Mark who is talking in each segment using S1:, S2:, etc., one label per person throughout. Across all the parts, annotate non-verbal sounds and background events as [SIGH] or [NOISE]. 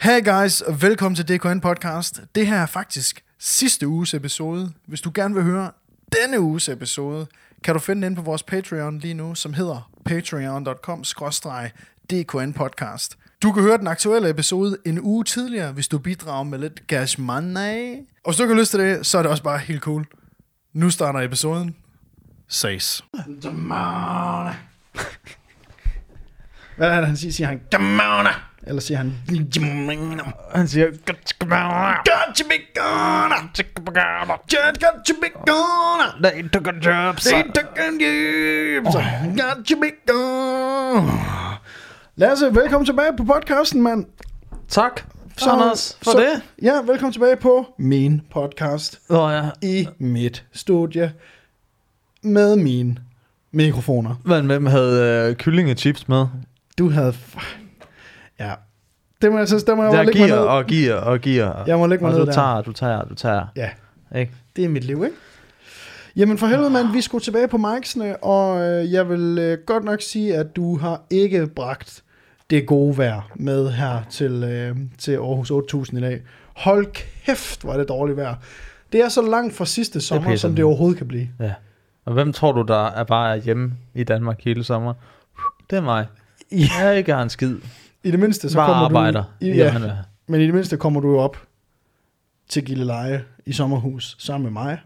S1: Hey guys, og velkommen til DKN Podcast. Det her er faktisk sidste uges episode. Hvis du gerne vil høre denne uges episode, kan du finde den inde på vores Patreon lige nu, som hedder patreon.com DKN Podcast. Du kan høre den aktuelle episode en uge tidligere, hvis du bidrager med lidt cash money. Og hvis du ikke har lyst til det, så er det også bare helt cool. Nu starter episoden. Ses. Hvad er det, han siger? Siger han, Gamona? Eller siger han, Gamona? Han siger, Got to be gone! Just got to be gone!
S2: They took a job,
S1: They
S2: son.
S1: took a name, so got to be gone! Lasse, velkommen tilbage på podcasten, mand.
S2: Tak, Anders, for
S1: Så-
S2: det.
S1: Ja, velkommen tilbage på min podcast
S2: Nå ja,
S1: i mit studie med mine mikrofoner.
S2: men hvem havde øh, kyllingechips med?
S1: Du havde... f- Ja. Det må jeg så stemme, jeg må
S2: Der
S1: lægge mig
S2: giver
S1: ned.
S2: og giver og giver.
S1: Jeg må lægge mig
S2: og
S1: ned
S2: du
S1: der.
S2: tager, du tager, du tager.
S1: Ja.
S2: Ikke?
S1: Det er mit liv, ikke? Jamen for helvede mand, vi skulle tilbage på micsene, og øh, jeg vil øh, godt nok sige, at du har ikke bragt det gode vejr med her til, øh, til Aarhus 8000 i dag. Hold kæft, hvor er det dårligt vejr. Det er så langt fra sidste sommer,
S2: pisser
S1: som det
S2: den.
S1: overhovedet kan blive.
S2: Ja. Og hvem tror du, der er bare er hjemme i Danmark hele sommer? Det er mig. Jeg er ikke har en skid.
S1: I det mindste, så
S2: Bare
S1: kommer
S2: arbejder.
S1: du... I, ja,
S2: Jamen, øh,
S1: men i det mindste kommer du jo op til Gilleleje i sommerhus sammen med mig,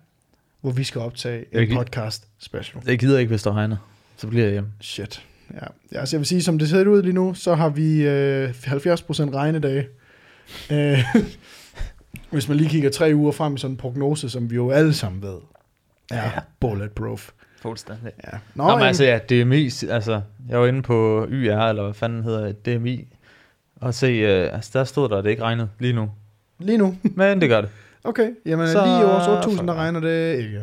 S1: hvor vi skal optage en
S2: Jeg gi-
S1: podcast special.
S2: jeg gider ikke, hvis der regner. Så bliver jeg hjemme.
S1: Shit. Ja. ja, altså jeg vil sige, som det ser ud lige nu, så har vi øh, 70% regnedage. Øh, [LAUGHS] hvis man lige kigger tre uger frem i sådan en prognose, som vi jo alle sammen ved, er ja. bulletproof.
S2: Fuldstændig.
S1: Ja.
S2: Nå, Nå men
S1: jamen,
S2: altså, ja, DMI, altså, jeg var inde på YR, eller hvad fanden hedder det, DMI, og se, øh, altså, der stod der, at det ikke regnede lige nu.
S1: Lige nu.
S2: Men det gør det.
S1: Okay, jamen så...
S2: Så-
S1: lige over 8000, der regner det
S2: [LAUGHS]
S1: ikke.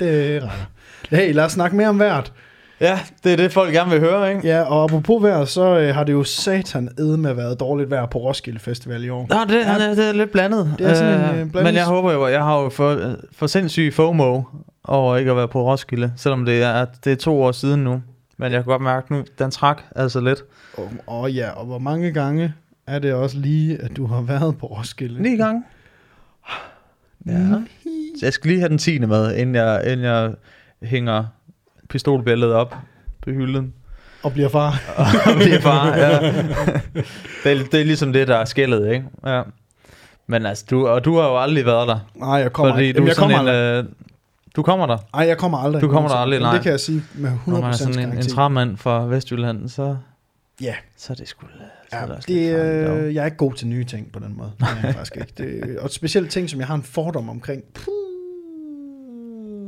S1: Det regner. Hey, lad os snakke mere om vejret.
S2: Ja, det er det, folk gerne vil høre, ikke?
S1: Ja, og apropos vejret, så øh, har det jo satan med været dårligt vejr på Roskilde Festival i år.
S2: Nå, det, ja, det er lidt blandet.
S1: Det er sådan en, øh, blandet-
S2: Men jeg håber jo, jeg har jo for, øh, for sindssyg FOMO over ikke at være på Roskilde, selvom det er, det er to år siden nu. Men jeg kan godt mærke nu, den trak altså lidt.
S1: Åh oh, ja, og hvor mange gange er det også lige, at du har været på Roskilde?
S2: Ni gange. Ja. Så jeg skal lige have den tiende med, inden jeg, inden jeg hænger pistolbæltet op på
S1: [LAUGHS]
S2: hylden.
S1: Og bliver far.
S2: Og bliver far, ja. det, er, det er ligesom det, der er skældet, ikke? Ja. Men altså, du, og du har jo aldrig været der.
S1: Nej, jeg kommer
S2: Kommer, fordi
S1: aldrig.
S2: du
S1: Jamen, jeg kommer
S2: er sådan
S1: aldrig.
S2: en, øh, du kommer der.
S1: Ej, jeg kommer aldrig.
S2: Du kommer der aldrig,
S1: Men Det
S2: nej.
S1: kan jeg sige med 100%
S2: Når man er sådan en, en
S1: garanti.
S2: træmand fra Vestjylland, så,
S1: Ja,
S2: så er det sgu... øh, Så
S1: ja
S2: er det, også
S1: det,
S2: lidt farligt derovre.
S1: øh, jeg er ikke god til nye ting på den måde. Det er jeg faktisk ikke. Det, og specielt ting, som jeg har en fordom omkring. Puh,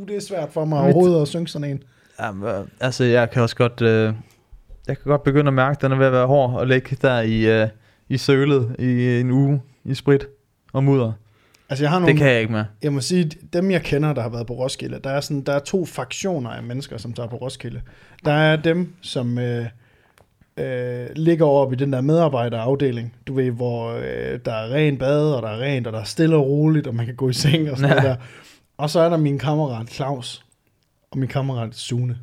S1: det er svært for mig overhovedet at synge sådan en.
S2: Jamen, øh, altså, jeg kan også godt... Øh, jeg kan godt begynde at mærke, at den er ved at være hård og ligge der i, øh, i sølet i en uge i sprit og mudder.
S1: Altså, jeg har nogle...
S2: Det kan jeg ikke med.
S1: Jeg må sige, dem jeg kender, der har været på Roskilde, der er, sådan, der er to fraktioner af mennesker, som tager på Roskilde. Der er dem, som øh, øh, ligger oppe i den der medarbejderafdeling, du ved, hvor øh, der er rent bad, og der er rent, og der er stille og roligt, og man kan gå i seng og sådan noget der. Og så er der min kammerat Claus, og min kammerat Sune.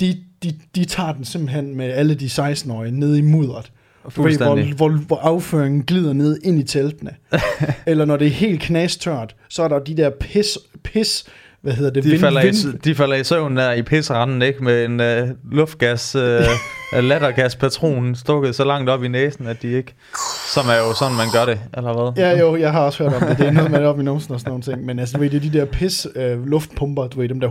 S1: De, de, de tager den simpelthen med alle de 16-årige ned i mudderet. Du ved,
S2: Fuldstændig.
S1: Hvor, hvor, hvor afføringen glider ned ind i
S2: [LAUGHS]
S1: teltene. Eller når det er helt knastørt, så er der de der pis, pis hvad hedder det?
S2: De
S1: vind-
S2: falder,
S1: vind-
S2: i, de falder i søvn der i pisseranden, ikke? Med en øh,
S1: [LAUGHS]
S2: luftgas, øh, lattergaspatron stukket så langt op i næsen, at de ikke... Som er jo sådan, man gør det, eller hvad?
S1: Ja, jo, jeg har også hørt om det. Det er noget med det op i numsen og sådan nogle ting. Men altså, du ved, det er de der pis øh, luftpumper, du ved, dem der,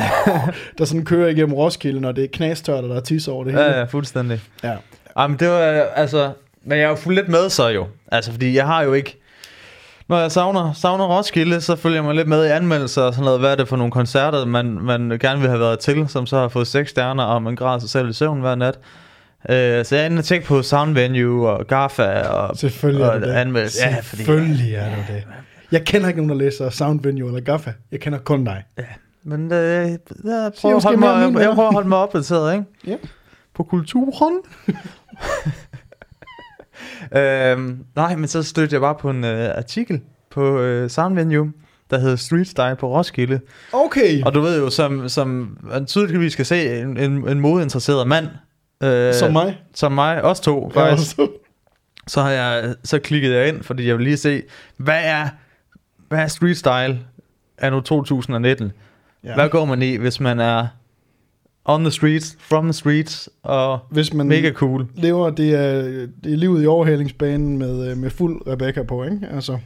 S2: [LAUGHS]
S1: der sådan kører igennem Roskilde, når det er knastørt, og der er tis over det hele.
S2: Ja, ja, fuldstændig.
S1: ja.
S2: Jamen, det var, øh, altså, men jeg er jo fuldt lidt med så jo. Altså, fordi jeg har jo ikke... Når jeg savner, savner Roskilde, så følger jeg mig lidt med i anmeldelser og sådan noget. Hvad er det for nogle koncerter, man, man gerne vil have været til, som så har fået seks stjerner, og man græder sig selv i søvn hver nat. Øh, så jeg er inde og tjekke på Sound Venue og GAFA og,
S1: Selvfølgelig er
S2: og
S1: du det.
S2: anmeldelse. Ja, fordi,
S1: Selvfølgelig er du det. Jeg kender ikke nogen, der læser Sound Venue eller Gaffa. Jeg kender kun dig.
S2: men øh, jeg,
S1: Sig
S2: prøver at
S1: måske
S2: holde
S1: mere om mine
S2: mig, jeg, jeg
S1: venner.
S2: prøver at holde mig opdateret, ikke?
S1: Ja.
S2: på kulturen. [LAUGHS] øhm, nej, men så stødte jeg bare på en øh, artikel på øh, Soundvenue, der hedder Street Style på Roskilde.
S1: Okay.
S2: Og du ved jo, som, som man tydeligvis kan se, en, en, en modeinteresseret mand. Øh,
S1: Som mig.
S2: Som mig, os to
S1: Ja,
S2: faktisk.
S1: altså.
S2: Så, har jeg, så klikkede jeg ind, fordi jeg vil lige se, hvad er, hvad er street style af nu 2019? Ja. Hvad går man i, hvis man er on the streets, from the streets og
S1: Hvis man
S2: mega cool?
S1: lever det, er, det er livet i overhalingsbanen med, øh, med fuld Rebecca på, ikke? Altså.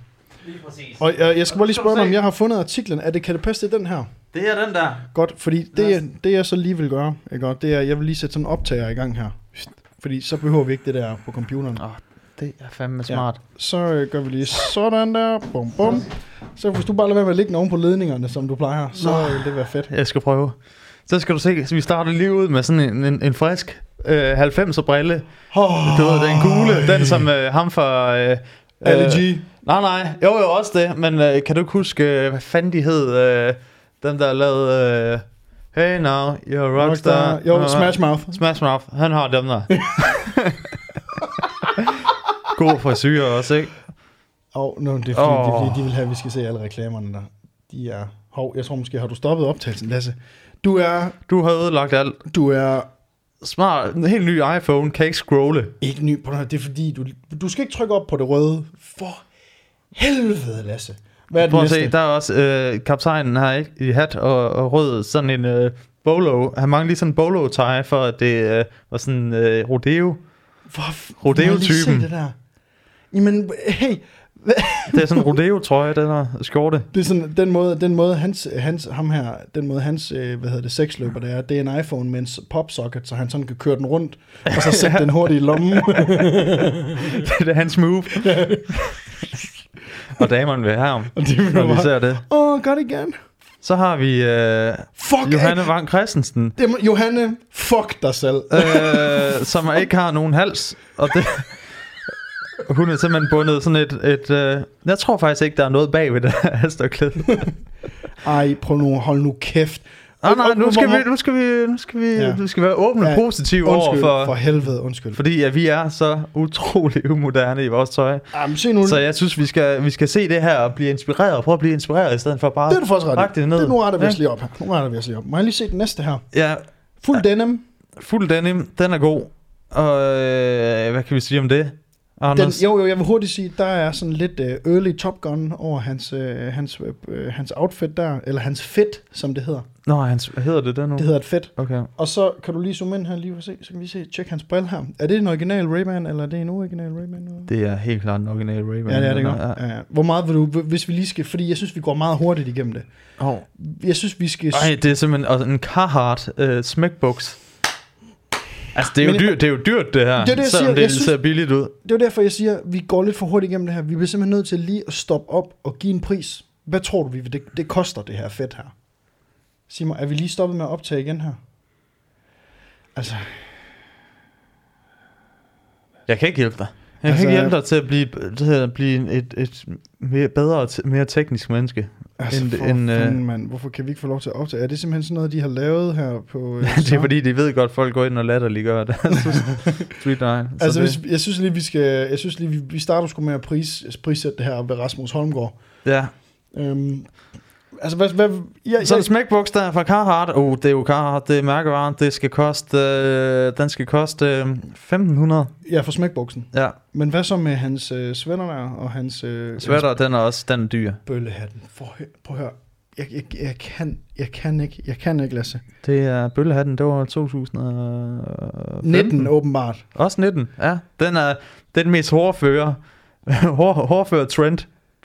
S2: Lige præcis.
S1: Og jeg, jeg skal bare lige
S2: Skal du
S1: spørge dig, om
S2: se?
S1: jeg har fundet artiklen. Er det, kan det passe det er den her?
S2: Det her den der.
S1: Godt, fordi det,
S2: Lad
S1: jeg, det jeg så lige vil gøre, ikke? godt, det er, jeg vil lige sætte sådan en optager i gang her. Fordi så behøver vi ikke det der på computeren.
S2: Åh, det er fandme
S1: Ja.
S2: smart.
S1: Så øh, gør vi lige sådan der. Bum, bum. Så hvis du bare lader være med at ligge den oven på ledningerne, som du plejer, så
S2: Nå.
S1: øh, vil det være fedt.
S2: Jeg skal prøve. Så skal du se, så vi starter lige ud med sådan en, en, en frisk øh, 90'er brille.
S1: Oh,
S2: Du ved, den gule, den som øh, ham fra... Øh,
S1: Ali
S2: øh,
S1: G.
S2: Nej, nej. Jo, jo, også det. Men øh, kan du ikke huske, øh, hvad fanden de hed? Øh, dem, der lavede... Øh, hey now, you're a rockstar. Øh,
S1: Rockstar. Jo, Smash Mouth.
S2: Smash Mouth. Han har dem der. God frisyr også, ikke?
S1: Åh, oh, no, det er fordi, oh. det er
S2: Åh.
S1: fordi, de vil have, at vi skal se alle reklamerne der. De er... Hov, jeg tror måske, har du stoppet optagelsen, Lasse? Du er...
S2: Du har ødelagt alt.
S1: Du er
S2: Smart. En helt ny iPhone. Kan ikke scrolle.
S1: ikke ny på noget. Det er fordi, du, du skal ikke trykke op på det røde. For helvede, Lasse. Hvad er det
S2: Prøv at
S1: næste?
S2: se, der er også øh, kaptajnen her ikke? i hat og, og rød, sådan en øh, bolo. Han mangler lige sådan en bolo tie for at det øh, var sådan øh, rodeo.
S1: Hvor f-
S2: Rodeo-typen.
S1: må jeg lige se det der? Jamen, hey,
S2: Det er sådan en rodeo trøje, den her skjorte.
S1: det er sådan, den måde, den måde hans, hans, ham her, den måde hans, øh, hvad hedder det, sexløber, det er, det er en iPhone med en s- popsocket, så han sådan kan køre den rundt, og så
S2: [LAUGHS]
S1: sætte den hurtigt i lommen.
S2: [LAUGHS] det er hans move. og damerne vil have ham,
S1: Og det vil
S2: når vi
S1: bare-
S2: ser det.
S1: Åh, oh, godt igen.
S2: Så har vi øh,
S1: Fuck, Johanne.
S2: Johanne Vang Christensen,
S1: Dem, Johanne, fuck dig selv.
S2: øh, som ikke har nogen hals. Og det, hun er simpelthen bundet sådan et... et øh, jeg tror faktisk ikke, der er noget bag ved det her halstørklæde.
S1: Ej, prøv nu, hold nu kæft.
S2: Nej,
S1: Og-
S2: nej,
S1: og-
S2: nu skal
S1: hvor-
S2: vi, nu skal vi, nu skal vi,
S1: Ja.
S2: ja. nu skal vi være åbne og
S1: Ja,
S2: positive over
S1: Undskyld, for,
S2: for,
S1: for helvede, undskyld.
S2: fordi at vi er så utrolig umoderne i vores tøj.
S1: Jamen, se nu,
S2: Så jeg synes, vi skal, vi skal se det her og blive inspireret, og prøve at blive inspireret, i stedet for bare
S1: det er du faktisk ret i.
S2: pakke det ned.
S1: Det, nu retter vi os
S2: Ja.
S1: lige op her. Nu retter vi os lige op. Må jeg lige se den næste her?
S2: Ja,
S1: Fuld denim.
S2: fuld denim, den er god. Og øh, hvad kan vi sige om det,
S1: Den,
S2: Anders?
S1: jo, jo, jeg vil hurtigt sige, der er sådan lidt øh, early Top Gun over hans, øh, hans, øh, hans outfit der, eller hans fit, som det hedder.
S2: Nå, hans, hvad hedder det der nu?
S1: Det hedder et fit.
S2: Okay.
S1: Og så kan du lige zoome ind her lige og se, så kan vi se, tjek hans brille her. Er det en original Ray-Ban, eller er det en original Ray-Ban? eller?
S2: Det er helt klart en original Ray-Ban.
S1: Ja, det er det
S2: den
S1: godt. Ja. ja. Hvor meget vil du, hvis vi lige skal, fordi jeg synes, vi går meget hurtigt igennem det.
S2: Åh.
S1: Jeg synes, vi skal...
S2: Ej, det er simpelthen også en Carhartt øh, smækbuks. Altså, det er, jo
S1: Men-
S2: dyrt, det er jo dyrt, det her.
S1: Det er det, jeg
S2: selvom
S1: siger.
S2: det
S1: Jeg synes-
S2: ser billigt ud.
S1: Det er jo derfor, jeg siger, at vi går lidt for hurtigt igennem det her. Vi bliver simpelthen nødt til lige at stoppe op og give en pris. Hvad tror du, vi det, det koster, det her fedt her? Sig mig, er vi lige stoppet med at optage igen her? Altså,
S2: Jeg kan ikke hjælpe dig. Jeg
S1: Altså-
S2: altså, kan ikke hjælpe dig til at blive, til at blive et, et mere bedre og te- mere teknisk menneske. [LAUGHS]
S1: altså
S2: En-
S1: for
S2: en, øh,
S1: fanden, mand. Hvorfor kan vi ikke få lov til at optage? Er det simpelthen sådan noget, de har lavet her [LAUGHS] på... øh,
S2: det er
S1: Star?
S2: fordi, de ved godt, at folk går ind og
S1: [LAUGHS]
S2: latterliggør det. Altså, Street Nine. Så
S1: Altså,
S2: det,
S1: hvis, jeg synes lige, vi skal... Jeg synes lige, vi, vi starter sgu med at pris, prissætte det her oppe ved Rasmus Holmgaard.
S2: ja.
S1: Øhm, altså, hvad... hvad jeg,
S2: Så en
S1: jeg,
S2: smækbuks der fra Carhartt. Oh, det er jo Carhartt, det er mærkevaren. Det skal koste, øh, den skal koste øh, 1500.
S1: jeg får smækbuksen.
S2: Ja,
S1: Men hvad så med hans øh, svætter der, og hans... Øh,
S2: sweater, den er også den er dyr.
S1: bøllehatten. For, hø- prøv at høre. Jeg, jeg, jeg, kan, jeg kan ikke, jeg kan ikke, Lasse.
S2: Det er bøllehatten, det var 2015.
S1: 19, åbenbart.
S2: Også 19, ja. Den er, det er den mest hårdføre, [LAUGHS] hår, hårdføre trend.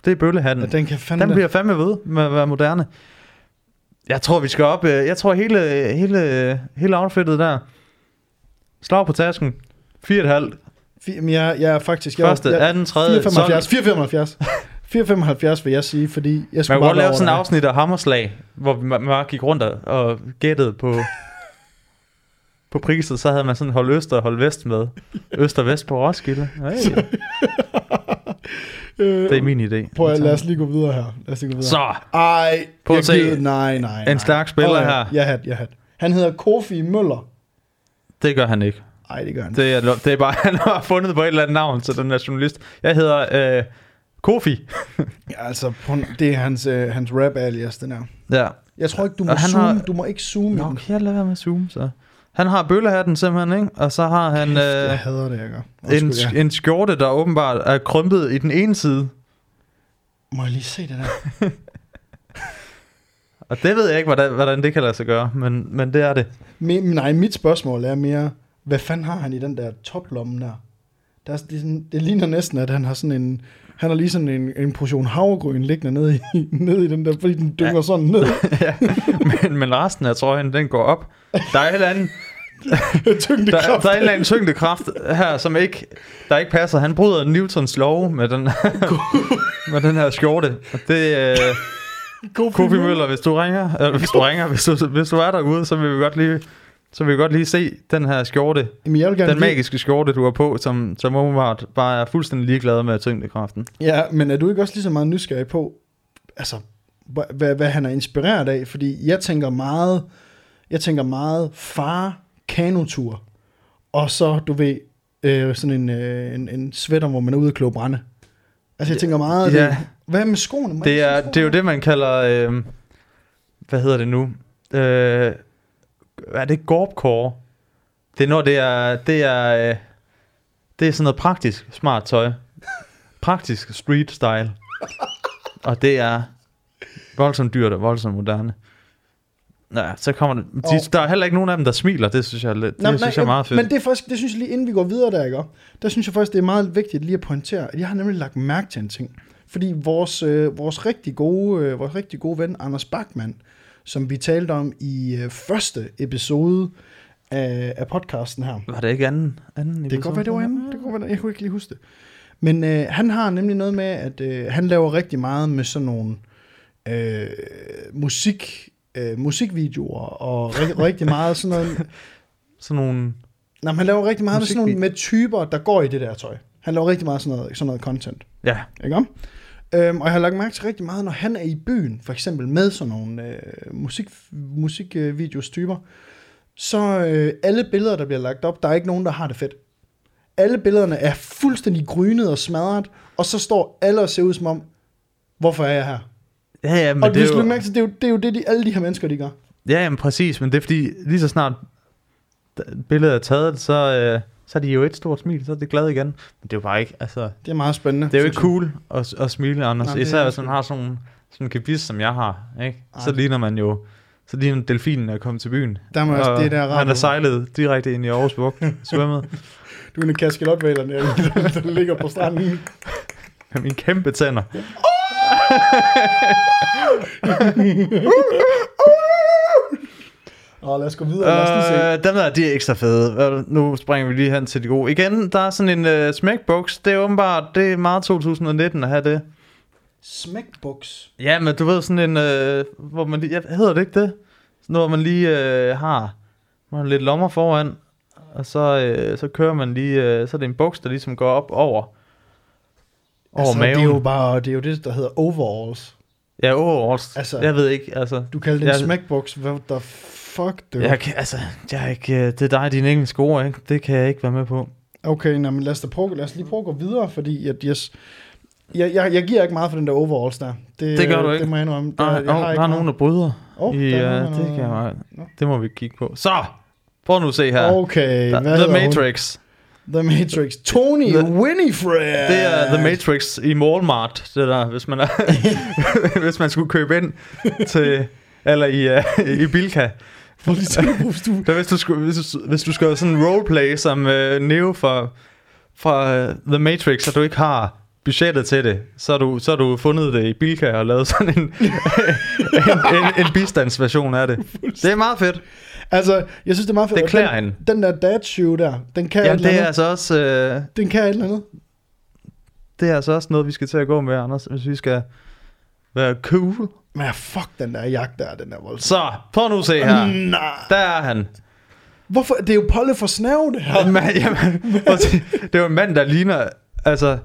S2: Det er bøllehatten.
S1: Og den kan fandme...
S2: Mm. Den bliver fandme ved med at være moderne. Jeg tror, vi skal op. øh, Jeg tror, hele, hele, hele outfittet der. Slag på tasken. 4,5.
S1: Fi- men jeg, jeg er faktisk... Jeg,
S2: Første,
S1: jeg,
S2: anden, tredje.
S1: 475,
S2: [LAUGHS]
S1: 475. 475 vil jeg sige, fordi jeg skulle
S2: Man kunne godt
S1: meget
S2: lave
S1: over
S2: sådan en
S1: dig.
S2: afsnit af Hammerslag, hvor man bare gik rundt og- og gættede på, på priset. Så havde man sådan hold øst og hold vest med. Øst og vest på Roskilde. Hey,
S1: Øh,
S2: det er min idé.
S1: Prøv at, lad os lige gå videre her. Lad os lige gå videre.
S2: Så,
S1: Ej,
S2: Prøv
S1: jeg
S2: at se.
S1: gider, nej, nej, nej.
S2: en stærk spiller
S1: Åh, ja,
S2: her.
S1: Jeg hat, jeg hat. Han hedder Kofi Møller.
S2: Det gør han ikke.
S1: Ej, det gør han.
S2: Det er, lo- det er bare, [LAUGHS] han har fundet på et eller andet navn til den der journalist. Jeg hedder øh, Kofi.
S1: Altså, prøv- det er hans, øh, hans rap alias, den er.
S2: Ja.
S1: Jeg tror ikke, du må
S2: Og han
S1: zoome.
S2: har-
S1: Du må ikke zoome. i
S2: Nå,
S1: den.
S2: kan jeg lade være med at zoome, så? Han har bøllehatten simpelthen, ikke? Og så har han
S1: jeg
S2: øh,
S1: hader det, jeg gør.
S2: en,
S1: Undskyld, ja.
S2: en skjorte, der åbenbart er krympet i den ene side.
S1: Må jeg lige se det [LAUGHS] der?
S2: Og det ved jeg ikke, hvordan, hvordan det kan lade sig gøre, men, men det er det.
S1: Men, nej, mit spørgsmål er mere, hvad fanden har han i den der toplomme der? der er, det, er sådan, det ligner næsten, at han har sådan en... Han har lige sådan en, en portion havregryn liggende nede i, [LAUGHS] nede i den der, fordi den dynger [LAUGHS] ja. sådan
S2: [LAUGHS]
S1: ned. [LAUGHS]
S2: ja. men, men resten af trøjen, den går op. Der er en eller
S1: [LAUGHS]
S2: anden, der,
S1: Tyngdekraft.
S2: der er en eller anden tyngdekraft her, som ikke, der ikke passer. Han bryder Newtons lov med den, med den her skjorte. Og det er øh,
S1: Kofi,
S2: Kofi Møller, hvis du ringer, eller hvis du ringer, hvis du, hvis du er derude, så vil vi godt lige... Så vil vi godt lige se den her skjorte,
S1: Jamen, jeg vil gerne
S2: den
S1: vide-
S2: magiske skjorte, du har på, som, som åbenbart bare er fuldstændig ligeglad med tyngdekraften.
S1: Ja, men er du ikke også lige så meget nysgerrig på, altså, hva- hvad, hvad han er inspireret af? Fordi jeg tænker meget, jeg tænker meget far, kanotur, og så, du ved, øh, sådan en, øh, en, en sweater, hvor man er ude og kloge brænde. Altså, jeg tænker meget,
S2: Ja.
S1: det, hvad med skoene? Må
S2: Det
S1: jeg se
S2: er, det er jo det, man kalder... Øh, hvad hedder det nu? Øh, er det gorpcore? Det er når det er... Det er, øh, det er sådan noget praktisk smart tøj. Praktisk street style. Og det er voldsomt dyrt og voldsomt moderne. Nå, ja, så kommer det. De,
S1: Og-
S2: der er heller ikke nogen af dem, der smiler. Det synes jeg, er lidt- det
S1: Nå,
S2: synes jeg er meget fedt.
S1: Men det, er faktisk, det synes jeg lige, inden vi går videre der, ikke? der synes jeg faktisk, det er meget vigtigt lige at pointere, at jeg har nemlig lagt mærke til en ting. Fordi vores, øh, vores, rigtig, gode, øh, vores rigtig gode ven, Anders Bachmann, som vi talte om i øh, første episode af, af podcasten her.
S2: Var det ikke anden? anden
S1: Det kan godt være, det var andet. Det kan godt være, jeg kunne ikke lige huske det. Men øh, han har nemlig noget med, at øh, han laver rigtig meget med sådan nogle øh, musik, øh, musikvideoer og ri- rigtig meget sådan
S2: [LAUGHS]
S1: noget
S2: Sådan nogle...
S1: Nej, men han laver rigtig meget med, sådan nogle,
S2: Musikvideo.
S1: med typer, der går i det der tøj. Han laver rigtig meget sådan noget, sådan noget content.
S2: Ja,
S1: Ikke om? Øhm, og jeg har lagt mærke til rigtig meget, når han er i byen, for eksempel med sådan nogle øh, musik, musikvideostyper, så øh, alle billeder, der bliver lagt op, der er ikke nogen, der har det fedt. Alle billederne er fuldstændig grynet og smadret, og så står alle og ser ud som om, hvorfor er jeg her?
S2: ja, ja men
S1: Men og
S2: det
S1: hvis
S2: er
S1: du
S2: jo...
S1: lægger mærke til, det er jo det, er jo det de, alle de her mennesker, de gør.
S2: Ja, jamen præcis, men det er fordi, lige så snart d- billedet er taget, så, øh, så er de jo et stort smil, så er det glad igen. Men det er jo bare ikke, altså,
S1: Det er meget spændende.
S2: det er jo ikke
S1: synes jeg.
S2: cool at, at smile,
S1: Nej,
S2: Anders. Nej,
S1: det er
S2: Især hvis
S1: også-
S2: man har sådan sådan en gebis, som jeg har, ikke? Så
S1: Ej.
S2: ligner man jo, så ligner delfinen er kommet til byen.
S1: Der er man også,
S2: Og
S1: det der
S2: han er
S1: radio.
S2: sejlet direkte ind i Aarhus Bugt,
S1: [LAUGHS]
S2: svømmet
S1: Du er en kaskelotvalerne, der ligger på stranden.
S2: med mine kæmpe tænder.
S1: Og lad os gå videre. Lad os lige se.
S2: Øh, dem der, de er ekstra fede. Hvad er det? Nu springer vi lige hen til de gode. Igen, der er sådan en øh, smækboks. Det er åbenbart, det er meget 2019 at have det.
S1: Smækbuks.
S2: Ja, men du ved sådan en, øh, hvor man lige, jeg, hedder det ikke det? Sådan noget, hvor man lige øh, har man har lidt lommer foran, og så, øh, så kører man lige, øh, så er det en buks, der ligesom går op over, over
S1: altså,
S2: altså, maven.
S1: Det er jo bare det, er jo det der hedder overalls.
S2: Ja, overalls.
S1: Altså-
S2: Altså, jeg ved ikke, altså.
S1: Du kalder det en
S2: Jeg-
S1: smækbuks. Hvad the fuck, du?
S2: Jeg, kan- altså, jeg er ikke, øh, det er dig og dine engelske ord, ikke? Det kan jeg ikke være med på.
S1: Okay, nå, men lad os, da prøve, lad os lige prøve at gå videre, fordi at yes, jeg, jeg, jeg giver ikke meget for den der overalls der.
S2: Det gør du ikke.
S1: Det må jeg indrømme. Det,
S2: Der,
S1: jeg
S2: der, der, der er nogen, der bryder.
S1: Oh,
S2: Oh, I, øh, det, kan jeg, meget-
S1: Nå.
S2: det må vi kigge på. Så! Prøv nu at se her.
S1: her. Okay,
S2: der,
S1: hvad
S2: The
S1: hedder hun?
S2: Matrix.
S1: The Matrix. Tony
S2: The-
S1: Winifred.
S2: Det er The Matrix i Walmart, det der, hvis man, er, hvis man skulle købe ind til, eller i, uh, i Bilka.
S1: Prøv lige at tænke på, hvis du
S2: Der, hvis, du skulle, hvis, du, hvis du skal have sådan en roleplay som uh, Neo fra, fra uh, The Matrix, og du ikke har budgettet til det, så har du, så har du fundet det i Bilka og lavet sådan en, en, en, en bistandsversion af det. Det er meget fedt.
S1: Altså, jeg synes, det er meget fedt.
S2: Det
S1: Og
S2: klæder
S1: den,
S2: hende.
S1: Den der dad shoe der, den kan
S2: Jamen,
S1: et eller
S2: det er
S1: andet.
S2: altså også... øh,
S1: Den kan et eller andet.
S2: det er altså også noget, vi skal til at gå med, Anders, hvis vi skal være cool.
S1: Men fuck, den der jagt der, den der voldsom.
S2: Så, prøv nu at se
S1: Mm.
S2: her.
S1: Nej.
S2: Der er han.
S1: Hvorfor? Det er jo Polle for snæv, det her.
S2: Og man, jamen, prøv at se, det er jo en mand, der ligner... Altså,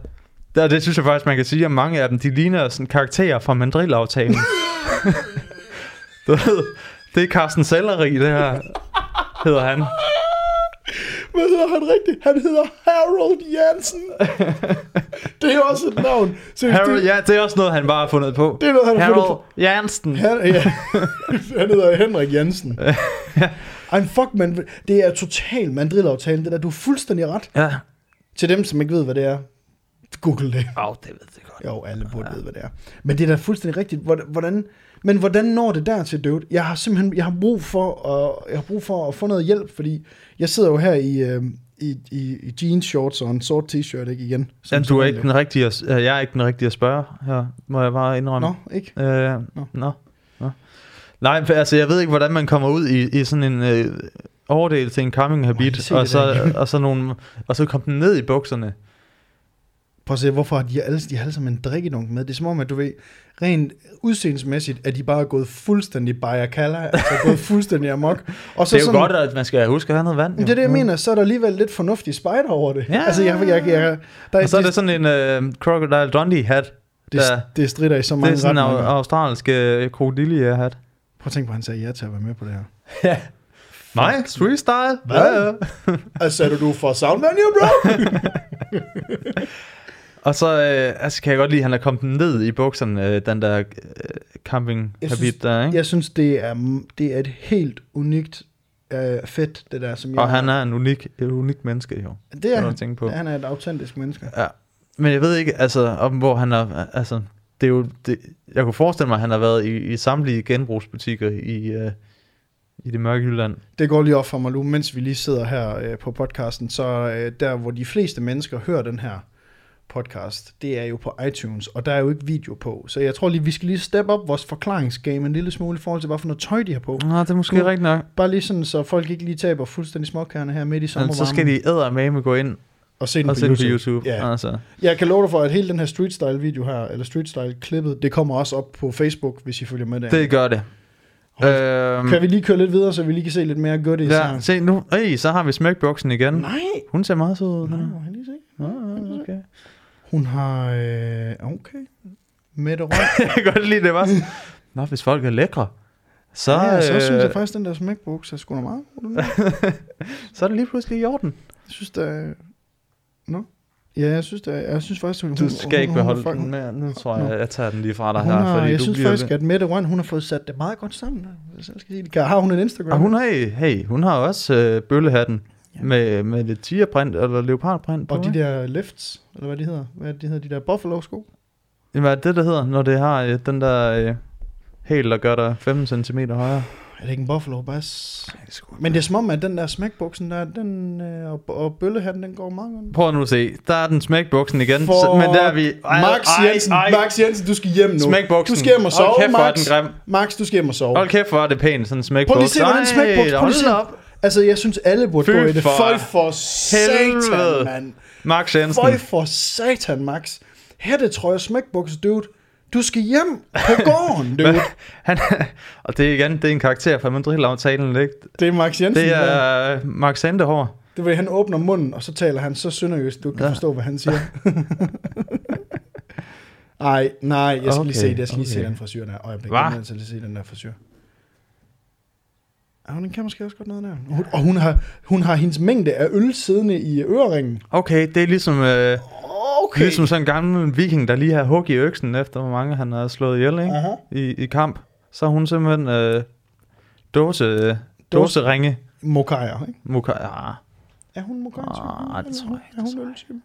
S2: der, det synes jeg faktisk, man kan sige, at mange af dem, de ligner sådan karakterer fra [LAUGHS] mandrilaftalen. du ved, det er Carsten Selleri, det her, hedder han.
S1: Hvad hedder han rigtigt? Han hedder Harold
S2: [LAUGHS]
S1: Jansen. det er jo også et navn. Seriøst,
S2: Harold,
S1: det,
S2: ja, det er også noget, han bare har fundet på.
S1: Det er noget, han har fundet [LAUGHS]
S2: Harold Jansen. [LAUGHS]
S1: han, ja, han hedder Henrik Jensen. Ej, men fuck, man, det er totalt mandrilaftalen, det der. Du er fuldstændig ret.
S2: Ja.
S1: Til dem, som ikke ved, hvad det er, google det.
S2: Åh, oh, det ved jeg godt.
S1: Jo, alle burde vide, hvad det er. Men det er da fuldstændig rigtigt. Hvor- Hvordan, men hvordan når det der til dødt? Jeg har simpelthen jeg har brug, for at, jeg har brug for at få noget hjælp, fordi jeg sidder jo her i, øh, i, i, i jeans shorts og en sort t-shirt ikke igen. som
S2: Jamen, du er ikke
S1: sædvanligt.
S2: den rigtige at, øh, jeg er ikke den rigtige at spørge her, må jeg bare indrømme.
S1: Nå, ikke?
S2: Øh,
S1: Nå.
S2: nå. Nå. Nej, for, altså jeg ved ikke, hvordan man kommer ud i, i sådan en øh, overdel til en coming
S1: jeg
S2: habit,
S1: se
S2: og
S1: det
S2: så, og, så nogle, og så kom den ned i bukserne.
S1: Prøv at se, hvorfor har de alle, de har alle sammen en drikkedunk med. Det er som om, at du ved, rent udseendsmæssigt, at de bare er gået fuldstændig bajakala, altså gået fuldstændig
S2: [LAUGHS]
S1: amok. Og
S2: Så det er jo sådan, godt, at man skal huske at have noget vand.
S1: Men det er
S2: jo. Mm.
S1: det, jeg mener, så er der alligevel lidt fornuftig spider over det.
S2: Ja.
S1: Altså, jeg, jeg, jeg, der
S2: Og så er det sådan en øh, Crocodile Dundee hat.
S1: det,
S2: der,
S1: det strider i så
S2: det
S1: mange
S2: er sådan en
S1: retninger.
S2: au- australsk øh, krokodille hat.
S1: Prøv at tænke på, at han sagde ja til at være med på det her.
S2: Ja. Nej, freestyle.
S1: Hvad?
S2: Ja, ja.
S1: Altså, er du for Soundmania, bro?
S2: Og så øh, altså, kan jeg godt lide, at han er kommet ned i bukserne, øh, den der øh, camping
S1: Jeg synes-
S2: habit der, ikke?
S1: jeg synes, det er, det er et helt unikt øh, fedt, det der, som jeg...
S2: Og han er en unik, et unik menneske, jo.
S1: det er
S2: kan du
S1: han.
S2: tænke på.
S1: Han er et autentisk menneske.
S2: Ja. Men jeg ved ikke, altså, om hvor han har, altså, det er jo, det, jeg kunne forestille mig, at han har været i, i samtlige genbrugsbutikker i, øh, i det mørke Jylland.
S1: Det går lige op for mig nu, mens vi lige sidder her øh, på podcasten, så øh, der, hvor de fleste mennesker hører den her podcast, det er jo på iTunes, og der er jo ikke video på. Så jeg tror lige, vi skal lige steppe op vores forklaringsgame en lille smule i forhold til, hvad for noget tøj de har på.
S2: Nå, det er måske
S1: Cool.
S2: rigtigt nok.
S1: Bare lige sådan, så folk ikke lige taber fuldstændig småkærne her midt i
S2: Men
S1: sommervarmen.
S2: Altså, så skal de eddermame gå ind
S1: og se den,
S2: og
S1: på,
S2: se den
S1: YouTube.
S2: på YouTube.
S1: Ja.
S2: Ja. Altså.
S1: Jeg kan love dig for, at hele den her street style video her, eller street style klippet, det kommer også op på Facebook, hvis I følger med der.
S2: Det gør det. Øhm,
S1: Kan vi lige køre lidt videre, så vi lige kan se lidt mere goodies
S2: ja,
S1: her?
S2: se nu. Øj, så har vi smækboksen igen.
S1: Nej!
S2: Hun ser meget sød ud.
S1: Nej,
S2: hende.
S1: må jeg lige se.
S2: Nå, nå, okay. [LAUGHS]
S1: Hun har... Øh, okay. Mette Røg.
S2: Jeg kan godt lide det, var sådan, Nå, hvis folk er lækre, så,
S1: ja, så
S2: øh,
S1: synes jeg faktisk, den der smækbuks er sgu da meget god, den der.
S2: så er det lige pludselig i orden.
S1: Jeg synes da... Nå? Ja, jeg synes da... Jeg synes faktisk, hun,
S2: Du skal ikke beholde
S1: hun,
S2: den
S1: hun,
S2: mere. Nu tror jeg,
S1: Nå.
S2: jeg tager den lige fra dig
S1: hun
S2: her.
S1: har,
S2: fordi
S1: jeg
S2: du
S1: synes
S2: bliver
S1: faktisk,
S2: lidt-
S1: at Mette Røn, hun har fået sat det meget godt sammen. hvis Jeg selv skal sige det. Kan- Har hun en Instagram?
S2: Og Ah, hun har, hey, hun har også øh, bøllehatten
S1: Ja.
S2: med, med lidt tigerprint eller leopardprint på.
S1: Og de
S2: ikke?
S1: der lifts, eller hvad de hedder? Hvad er det, de hedder? De der buffalo-sko?
S2: Hvad er det, der hedder, når det har øh, den der øh, hæl, der gør dig 15 cm højere?
S1: Er det ikke en buffalo bass? Men det er som om, at den der smækbuksen der, den, øh, og, og bøllehatten, den går meget godt.
S2: Prøv nu at se. Der er den smækbuksen igen.
S1: For
S2: Så, men der er vi... Ej,
S1: Max Jensen, Max Jensen, du skal hjem nu.
S2: Smækbuksen.
S1: Du skal hjem og sove,
S2: Hold kæft, hvor er
S1: Max.
S2: den grim.
S1: Max, du skal hjem og sove.
S2: Hold kæft, hvor er det pænt, sådan en smækbuks.
S1: Prøv lige at se, hvordan en smækbuks... Prøv
S2: hold
S1: lige at se.
S2: da op.
S1: Altså, jeg synes, alle burde
S2: Fy
S1: gå i det.
S2: for
S1: Føj for
S2: helvede.
S1: satan, mand.
S2: Max Jensen. [LAUGHS]
S1: Føj for satan, Max. Hættetrøje og smækbuks, dude. Du skal hjem på gården,
S2: Men,
S1: dude.
S2: han, og det er igen, det er en karakter fra Madrid-aftalen, ikke?
S1: Det er Max Jensen.
S2: Det
S1: der.
S2: er øh, Max Sandehår.
S1: Det vil han åbner munden, og så taler han så sønderjysk, du ikke kan
S2: Ja.
S1: forstå, hvad han siger. [LAUGHS] Nej, nej, jeg skal okay, lige se det. Jeg skal okay. lige se
S2: okay.
S1: den frisyr der. Øjeblik,
S2: Hva?
S1: jeg bliver til at se den der frisyr. Ja, hun kan måske også godt noget der. Og hun- Og hun har, hun har hendes mængde af øl siddende i øh, øreringen.
S2: Okay, det er ligesom, øh, okay. ligesom sådan en gammel viking, der lige har hug i øksen, efter hvor mange han har slået ihjel ikke?
S1: Aha.
S2: I, i kamp. Så er hun simpelthen øh, dåse, øh, dåseringe.
S1: Mokajer, ikke?
S2: Muka, ah.
S1: Er hun mokajer?
S2: Ah, det tror jeg ikke,
S1: Er
S2: det
S1: hun
S2: tror jeg
S1: øltypen?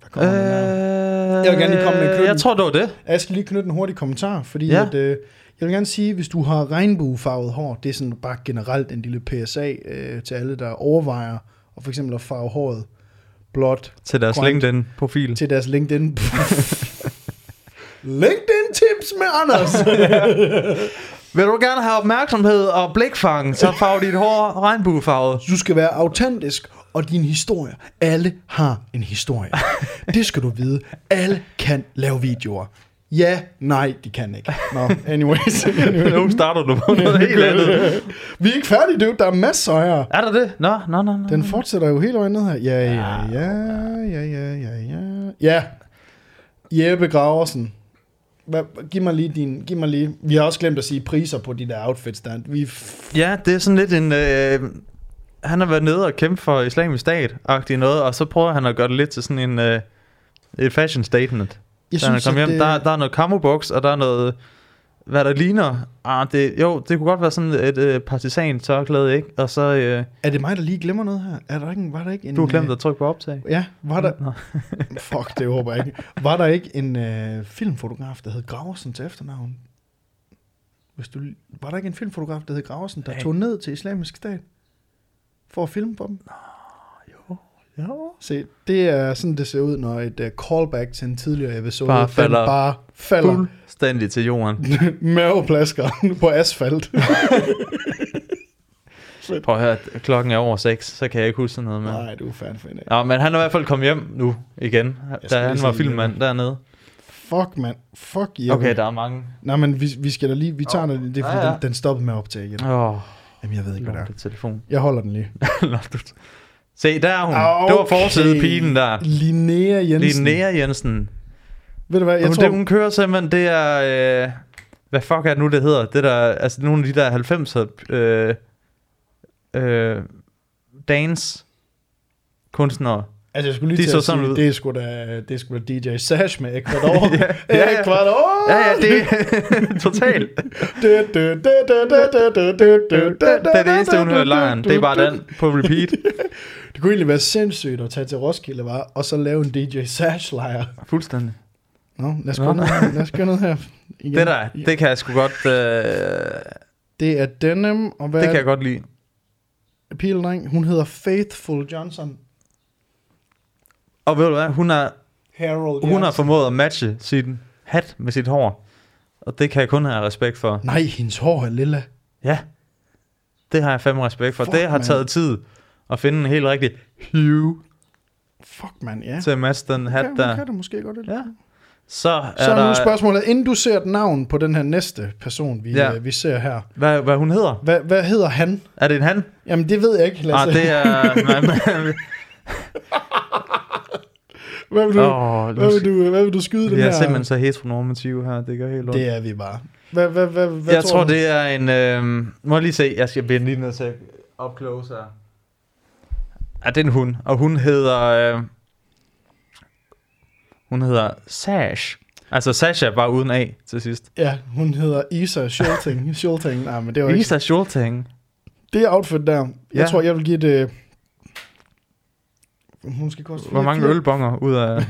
S1: Der
S2: øh,
S1: kommer den der. Jeg vil gerne lige komme med kløen.
S2: Jeg tror, det var det.
S1: Jeg skal lige knytte en hurtig kommentar, fordi ja.
S2: Ja.
S1: at, øh, jeg vil gerne sige, hvis du har regnbuefarvet hår, det er sådan bare generelt en lille PSA øh, til alle, der overvejer og for eksempel at farve håret blåt
S2: Til deres
S1: Grønt.
S2: LinkedIn-profil.
S1: til deres
S2: [LAUGHS]
S1: LinkedIn. LinkedIn tips med Anders.
S2: Vil du gerne have opmærksomhed og blikfang, så farv dit hår
S1: [LAUGHS]
S2: regnbuefarvet.
S1: Du skal være autentisk, og din historie. Alle har en historie. Det skal du vide. Alle kan lave videoer. Ja, nej, de kan ikke. Nå,
S2: [LAUGHS]
S1: anyways.
S2: Nu starter du
S1: [LAUGHS]
S2: på noget helt andet.
S1: Vi er ikke færdige, dude. Der er masser her.
S2: Er der det? Nå, nå, nå. nå.
S1: Den fortsætter jo hele vejen ned her. Ja, ja, ja, ja, ja, ja, ja. Ja. Jeppe Graversen. Hvad, giv mig lige din... Giv mig lige. Vi har også glemt at sige priser på de der outfits, der. Vi f-
S2: Ja, det er sådan lidt en... Øh, han har været nede og kæmpe for islamisk stat-agtig noget, og så prøver han at gøre det lidt til sådan en... Øh, et fashion statement.
S1: jeg
S2: da han kom hjem, det... der, der er noget camo box, og der er noget hvad der ligner. Ah, det, jo, det kunne godt være sådan et øh, partisan tørklæde, ikke? Og så, øh,
S1: Er det mig, der lige glemmer noget her? Er der ikke, en- var der ikke en...
S2: du har glemt
S1: øh,
S2: at trykke på optag.
S1: Ja, var der... [LAUGHS]
S2: Nå.
S1: Fuck, det håber jeg ikke. Var der ikke en øh, filmfotograf, der hed Graversen til efternavn? Hvis du, var der ikke en filmfotograf, der hed Graversen, der
S2: Nej.
S1: tog ned til islamisk stat for at filme på dem?
S2: Jo.
S1: Se, det er sådan, det ser ud, når et uh, callback til en tidligere episode
S2: Bare
S1: den
S2: falder.
S1: bare falder
S2: Fuldstændig til jorden.
S1: [LAUGHS] maveplasker på asfalt.
S2: Prøv at høre, klokken er over 6, så kan jeg ikke huske sådan noget med.
S1: Nej, du er fan for en af.
S2: Nå, men han er i hvert fald kommet hjem nu igen,
S1: skal
S2: da
S1: lige øh,
S2: han
S1: se
S2: var
S1: den igen.
S2: filmmand dernede.
S1: Fuck, mand. Fuck, Jeppe.
S2: Okay, der er mange.
S1: Nej, men vi, vi skal da lige, vi tager den, det er fordi,
S2: Ja,
S1: ja,
S2: ja.
S1: ja. Den, den stoppede med at optage igen.
S2: Åh, oh,
S1: Jamen, jeg ved ikke, hvad det er.
S2: [LAUGHS] telefon.
S1: Jeg holder den lige.
S2: Lortet. Se, der er hun. Det var forsiden pigen der.
S1: Linnea Jensen.
S2: Linnea Jensen.
S1: Ved du hvad,
S2: Jeg
S1: jeg
S2: hun,
S1: tror...
S2: tror... det, hun kører simpelthen, det er... Øh, hvad fuck er det nu, det hedder? Det der, altså nogle af de der 90'er... Øh, øh, dance kunstnere.
S1: altså, jeg skulle lige
S2: de
S1: til
S2: så
S1: at
S2: sådan
S1: sige,
S2: ud.
S1: det er sgu da, det er sgu da DJ Sash med Ecuador.
S2: [LAUGHS] Ja, ja, ja.
S1: Ecuador!
S2: Ja, ja, det er [LAUGHS]
S1: [LAUGHS]
S2: totalt.
S1: Det
S2: Det
S1: er
S2: er det eneste, hun hører i lejren. Det er bare den på repeat.
S1: Det kunne egentlig være sindssygt at tage til Roskilde, var, og så lave en DJ Sash lejr.
S2: Fuldstændig.
S1: Nå, lad os
S2: Nå.
S1: gøre noget her. Lad os gøre noget her. Igen.
S2: Det der, det kan jeg sgu godt... Øh,
S1: det er Denim, og hvad
S2: det kan
S1: er
S2: jeg godt lide.
S1: pildreng? Hun hedder Faithful Johnson.
S2: Og ved du hvad, hun har,
S1: Harold
S2: hun har
S1: Johnson.
S2: formået at matche sin hat med sit hår. Og det kan jeg kun have respekt for.
S1: Nej, hendes hår er lilla.
S2: Ja, det har jeg fandme respekt for.
S1: Fuck,
S2: det har
S1: mand.
S2: taget tid at finde en helt rigtig hue
S1: Fuck, mand, ja.
S2: til at matche den hat
S1: Kan, hun
S2: der.
S1: kan det måske godt lidt.
S2: Ja. Så er
S1: Så er nu
S2: der...
S1: spørgsmålet, inden du ser et navn på den her næste person, vi,
S2: Ja.
S1: ja. vi ser her.
S2: Hvad, hvad hun hedder?
S1: Hvad, hvad hedder han?
S2: Er det en han?
S1: Jamen, det ved jeg ikke,
S2: Nej,
S1: Lasse.
S2: det
S1: [LAUGHS]
S2: er... Man, man,
S1: Hvad vil du,
S2: åh,
S1: Hvad vil du, hvad vil du skyde den
S2: vi
S1: her?
S2: er simpelthen så heteronormative her. Det gør helt ondt.
S1: Det er vi bare. Hvad, hvad, hvad, hvad
S2: Jeg tror,
S1: du?
S2: det er en... Øh, må jeg lige se? Jeg skal blive lige nødt til at up close her. Ja, det er en hund. Og hun hedder... Øh, hun hedder Sash. Altså Sasha, bare uden A til sidst.
S1: Ja, hun hedder Isa
S2: [LAUGHS]
S1: Schulting. Schulting, nej, men det var ikke...
S2: Lisa Schulting.
S1: Det outfit der, jeg
S2: Ja.
S1: tror, jeg vil give det... Hun skal koste...
S2: Hvor
S1: fire-
S2: mange
S1: fire-
S2: ølbonger ud af,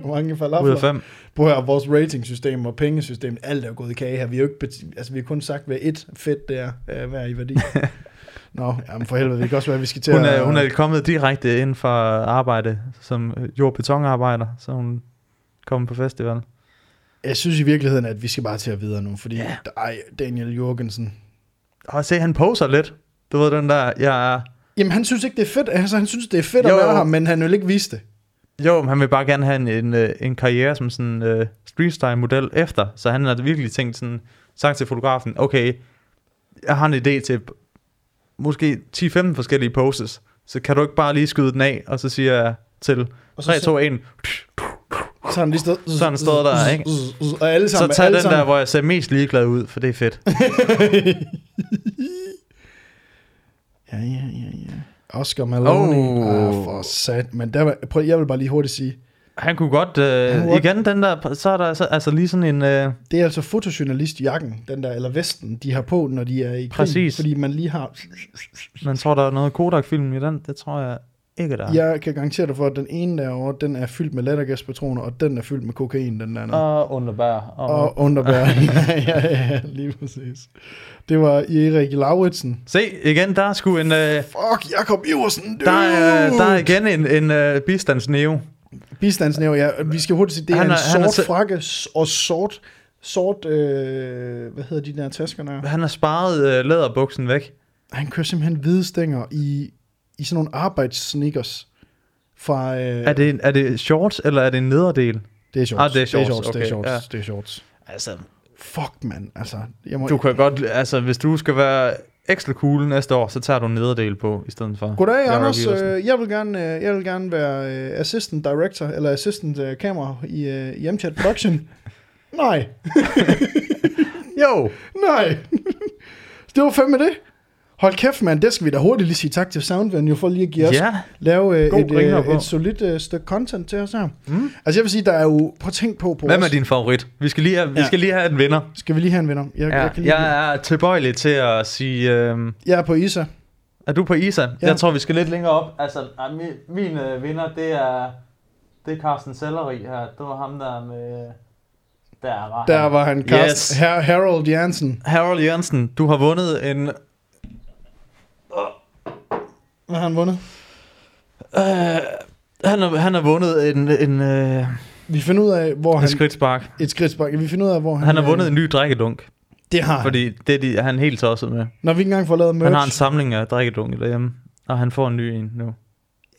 S1: Hvor mange
S2: ud af
S1: falafler?
S2: fem?
S1: Prøv at høre, vores ratingsystem og pengesystem, alt er jo gået i kage her. Vi har jo ikke beti- altså, vi har kun sagt, hvad et fedt det er, øh, hver i
S2: [LAUGHS]
S1: værdi. Nå, jamen for helvede, det kan også være, at vi skal til
S2: Hun
S1: at...
S2: er, hun er kommet direkte ind fra arbejde som øh, jord- og betonarbejder, så hun kommer på festival.
S1: Jeg synes i virkeligheden, at vi skal bare til at videre nu, fordi...
S2: Ja.
S1: Ej, Daniel Jorgensen.
S2: Og se, han poser lidt. Du ved den der, jeg er...
S1: Jamen, han synes ikke, det er fedt. Altså, han synes, det er fedt jo.
S2: Jo,
S1: at
S2: jo.
S1: være her, men han vil ikke vise det.
S2: Jo, men han vil bare gerne have en, en, øh, en karriere som sådan øh, streetstyle-model efter, så han har virkelig tænkt sådan, sagt til fotografen, okay, jeg har en idé til måske 10-15 forskellige poses, så kan du ikke bare lige skyde den af, og så siger jeg til
S1: Og så
S2: 3, 2, 1,
S1: Så har han lige stået...
S2: Så har han
S1: [LAUGHS]
S2: stået der, ikke?
S1: Og alle sammen...
S2: så tag
S1: alle
S2: den der,
S1: sammen.
S2: hvor jeg ser mest ligeglad ud, for det er fedt.
S1: [LAUGHS] ja, ja, ja, ja. Oscar Maloney.
S2: Oh.
S1: Oh. Ah, for sat. Men der var, prøv, jeg vil bare lige hurtigt sige,
S2: [LAUGHS] Han kunne godt,
S1: Han
S2: øh,
S1: kunne
S2: igen den der, så er der altså, altså lige sådan en, øh,
S1: det er altså fotojournalistjakken, den der, eller vesten, de har på, når de er i krig.
S2: Præcis.
S1: Fordi man lige har...
S2: man tror der er noget Kodak-film i den, det tror jeg ikke der er.
S1: Jeg kan garantere dig for, at den ene derovre, den er fyldt med lattergaspatroner, og den er fyldt med kokain, den der.
S2: Og underbær. Og,
S1: Og underbær. [LAUGHS] ja, ja, ja, lige præcis. Det var Erik Lauritsen.
S2: Se, igen, der er sgu en... Øh,
S1: Fuck, Jakob Iversen, dude!
S2: Der er, øh, der er igen en, en uh, bistandsneo.
S1: Bistandsnævn, ja. Vi skal hurtigt sige, det er
S2: Han
S1: han
S2: er-
S1: en
S2: han er
S1: sort
S2: se-
S1: frakke s- og sort, sort øh, hvad hedder de der tasker der?
S2: Han har sparet uh, læderbuksen væk.
S1: Han kører simpelthen hvide stænger i, i sådan nogle arbejdssneakers fra... Øh,
S2: Er det, en- er det shorts, eller er det en nederdel?
S1: det er shorts.
S2: Ah, det er shorts,
S1: Det er shorts, det
S2: okay,
S1: er shorts,
S2: ja.
S1: det er shorts.
S2: Altså,
S1: Fuck, mand. Altså, jeg må...
S2: du kan godt... Altså, hvis du skal være ekstra cool næste år, så tager du en nederdel på i stedet for.
S1: Goddag,
S2: Jakob
S1: Anders.
S2: Iversen.
S1: Øh, Jeg vil gerne, øh, jeg vil gerne være øh, assistant director, eller assistant øh, camera i øh, i MChat
S2: [LAUGHS]
S1: Production. Nej,
S2: Jo!
S1: [LAUGHS] nej. det var fandme det. Hold kæft, mand, det skal vi da hurtigt lige sige tak til Soundvenue for lige at give os,
S2: Ja.
S1: lave øh,
S2: God
S1: et,
S2: ringer
S1: øh,
S2: på.
S1: et solidt øh, stykke content til os her.
S2: Mm.
S1: Altså jeg vil sige, der er jo, prøv at tænk på på
S2: Hvem er
S1: os.
S2: din favorit? Vi skal lige have, vi
S1: Ja.
S2: skal lige have en vinder.
S1: Skal vi lige have en vinder? Jeg,
S2: Ja,
S1: jeg, kan lige, jeg,
S2: jeg er tilbøjelig til at sige, øh,
S1: jeg er på Isa.
S2: er du på Isa?
S1: Ja.
S2: Jeg tror, vi skal lidt længere op. Altså, ah, min, min øh, vinder, det er, det er Carsten Selleri her. Det var ham der med, der var
S1: Der
S2: han.
S1: var han, Carst,
S2: Yes.
S1: yes. Her, Harold Jansen.
S2: Harold Jørgensen, du har vundet en...
S1: Hvad har han vundet?
S2: Øh, han, har, han har vundet en, en, øh,
S1: Vi finder ud af, hvor han...
S2: en skridtspark.
S1: Et skridtspark. Vi finder ud af, hvor han...
S2: Han har
S1: øh,
S2: vundet en ny drikkedunk,
S1: Det har Fordi...
S2: fordi det er de, han er helt tosset med.
S1: Når vi ikke engang får lavet merch,
S2: Han har en samling af drikkedunke derhjemme, og han får en ny en nu.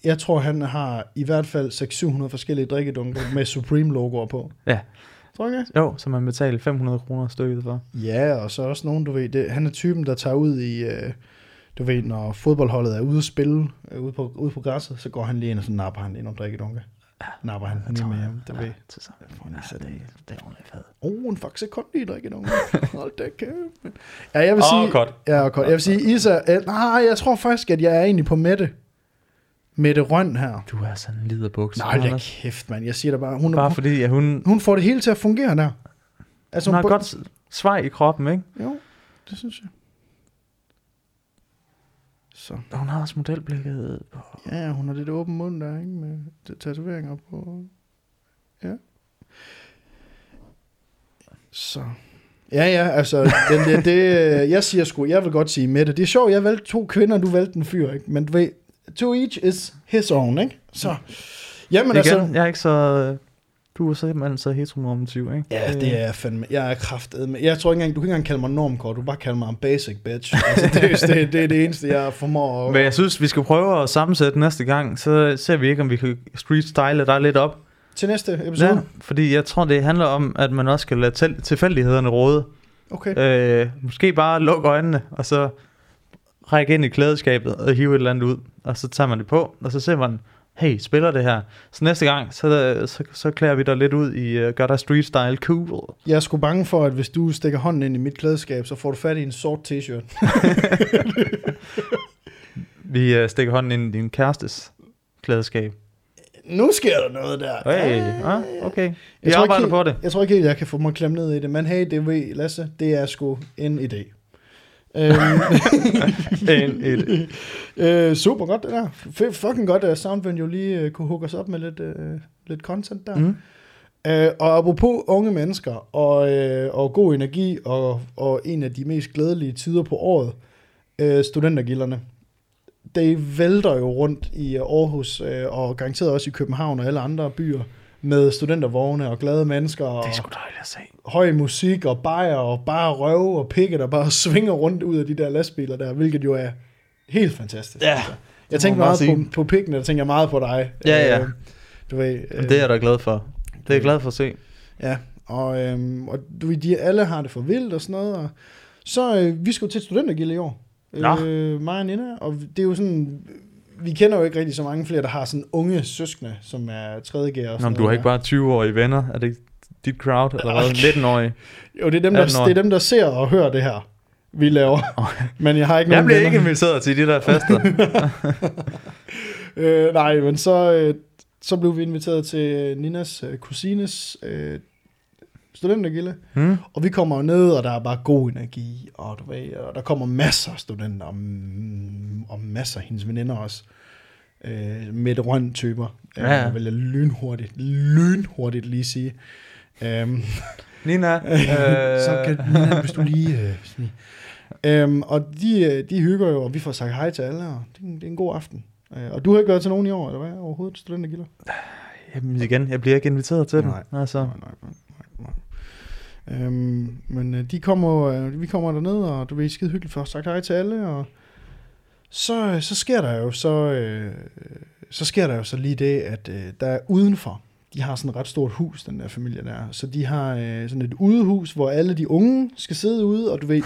S1: jeg tror, han har i hvert fald 600-700 forskellige drikkedunker med Supreme-logoer på.
S2: Ja.
S1: Tror du ikke?
S2: Jo, som han betaler 500 kroner stykket for.
S1: Ja, og så også nogen, du ved, det, han er typen, der tager ud i, øh, du ved, når fodboldholdet er ude at spille, øh, ude, på, ude på græsset, så går han lige ind, og så napper han lige nogle drikkedunke. Napper han lige med hjem, du ved.
S2: til sammen.
S1: Får han lige sat en-
S2: Det er ordentligt fed.
S1: Oh, en faktisk kun lige drikkedunke.
S2: [LAUGHS]
S1: Hold da kæft. Ja, jeg vil
S2: Åh,
S1: sige...
S2: godt.
S1: Ja, godt. Jeg vil sige, Isa... Øh, nej, jeg tror faktisk, at jeg er egentlig på Mette. Mette Røn her.
S2: Du er sådan en lider bukse.
S1: Nej, hold da
S2: Anders.
S1: kæft, mand. Jeg siger det bare. Hun,
S2: Bare
S1: hun,
S2: fordi, at hun,
S1: hun får det hele til at fungere der. Altså,
S2: hun har
S1: bu-
S2: godt svej i kroppen, ikke?
S1: Jo, det synes jeg. Så.
S2: Hun har også modelblikket på.
S1: Ja, hun har lidt åben mund der, ikke? Med t- tatoveringer på... Ja. Så... Ja, ja, altså, den, det, det, øh, jeg siger sgu, jeg vil godt sige Mette. Det er sjovt, jeg valgte to kvinder, du valgte en fyr, ikke? Men du ved, to each is his own, ikke? Så, jamen
S2: Men
S1: altså...
S2: Igen, altså, jeg er ikke så... Du er simpelthen så heteronormativ, ikke?
S1: Ja, det er jeg fandme. Jeg er kraftedme. Jeg tror ikke engang, du kan ikke engang kalde mig normkort, du kan bare kalde mig en basic bitch. Altså, det, er- det, det, er det eneste, jeg formår at...
S2: Men jeg synes, vi skal prøve at sammensætte næste gang, så ser vi ikke, om vi kan street style dig lidt op.
S1: Til næste episode?
S2: Ja, fordi jeg tror, det handler om, at man også skal lade til- tilfældighederne råde.
S1: Okay.
S2: Øh, måske bare lukke øjnene, og så række ind i klædeskabet og hive et eller andet ud, og så tager man det på, og så ser man, hey, spiller det her? Så næste gang, så, så, så klæder vi dig lidt ud i, uh, gør dig street style cool.
S1: Jeg er sgu bange for, at hvis du stikker hånden ind i mit klædeskab, så får du fat i en sort t-shirt.
S2: Vi uh, stikker hånden ind i din kærestes klædeskab.
S1: Nu sker der noget der.
S2: Hey,
S1: Ja.
S2: ah, okay. Vi
S1: Jeg tror ikke
S2: arbejder
S1: helt-
S2: på det.
S1: Jeg tror ikke helt, jeg kan få mig klemt ned i det, men hey, det ved Lasse, det er sgu en idé. øhm, [LAUGHS]
S2: En, et,
S1: øh, super godt det der. F- fucking godt, at Soundvenue lige øh, kunne hooke os op med lidt, øh, lidt content der. Mm.
S2: mm.
S1: Øh, og apropos unge mennesker og, øh, og god energi og, og en af de mest glædelige tider på året, øh, studentergilderne. Det vælter jo rundt i øh, Aarhus øh, og garanteret også i København og alle andre byer med studentervogne og glade mennesker og
S2: Det er sgu dejligt at se.
S1: høj musik og bajer og bare røve og pikke, der bare [LAUGHS] svinger rundt ud af de der lastbiler der, hvilket jo er helt fantastisk. altså. jeg
S2: Ja, må man
S1: tænker
S2: bare
S1: meget
S2: sige.
S1: på, på pikkene, der tænker jeg meget på dig.
S2: Ja, ja.
S1: Øh, du ved, øh,
S2: Jamen, det er jeg da glad for. Det er jeg glad for at se.
S1: Ja, og, øhm, og du ved, de alle har det for vildt og sådan noget. Og så øh, vi skal jo til et studentergilde i år.
S2: Nå.
S1: Øh, mig og Nina, og det er jo sådan... Vi kender jo ikke rigtig så mange flere, der har sådan unge søskende, som er 3. G og
S2: Nå,
S1: sådan
S2: men du har ikke
S1: der.
S2: bare 20-årige venner. Er det ikke dit crowd? Eller hvad?
S1: Okay.
S2: 19-årige?
S1: Jo, det er, dem, der,
S2: 18 år.
S1: det er dem, der ser og hører det her, vi
S2: [LAUGHS]
S1: laver. men jeg har ikke
S2: Jeg
S1: nogen
S2: bliver
S1: venner.
S2: ikke inviteret til de der fester.
S1: Øh, nej, men så, øh, så blev vi inviteret til Ninas øh, kusines øh, studentergilde.
S2: Hmm?
S1: Og vi kommer jo ned, og der er bare god energi, og, du ved, og der kommer masser af studenter, og, mm, og masser af hendes veninder også. Øh, Mette Røn typer, øh,
S2: Ja, ja.
S1: ja. vil jeg lynhurtigt, lynhurtigt lige sige. Øhm,
S2: [LAUGHS] Nina, øh,
S1: [LAUGHS] så kan Nina, hvis du lige... Øh, hvis vi- øhm, og de, øh, de hygger jo, og vi får sagt hej til alle, og det er en, det er en god aften. Øh, og du har ikke været til nogen i år, eller hvad? Overhovedet studentergilder?
S2: Jamen igen, jeg bliver ikke inviteret til
S1: Nej.
S2: dem. Altså,
S1: Nej, nej, nej, nej. Øhm, men øh, de kommer, øh, vi kommer derned, og du ved, skide hyggeligt først sagt hej til alle, og så, øh, så sker der jo så, øh, så sker der jo så lige det, at øh, der er udenfor, de har sådan et ret stort hus, den der familie der, så de har øh, sådan et udehus, hvor alle de unge skal sidde ude, og du ved,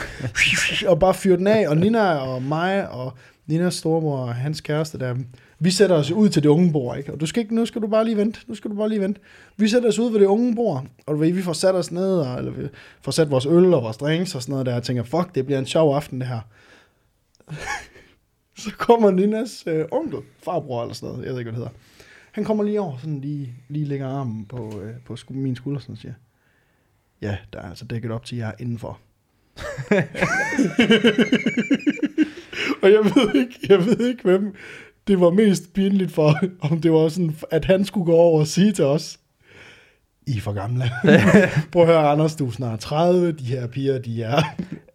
S1: og bare fyre den af, og Nina og mig og Ninas stormor og hans kæreste der, vi sætter os ud til det unge bord, ikke? Og du skal ikke, nu skal du bare lige vente, nu skal du bare lige vente. Vi sætter os ud ved det unge bord, og du ved, vi får sat os ned, og, eller vi får sat vores øl og vores drinks og sådan noget der, og tænker, fuck, det bliver en sjov aften det her. så kommer Ninas øh, onkel, farbror eller sådan noget, jeg ved ikke, hvad det hedder. Han kommer lige over, sådan lige, lige lægger armen på, øh, på sku- min skulder, sådan og siger, ja, der er altså dækket op til jer indenfor. [LAUGHS] og jeg ved ikke, jeg ved ikke, hvem det var mest pinligt for, om det var sådan, at han skulle gå over og sige til os, I er for [LAUGHS] gamle. Prøv at høre, Anders, du er snart 30, de her piger, de er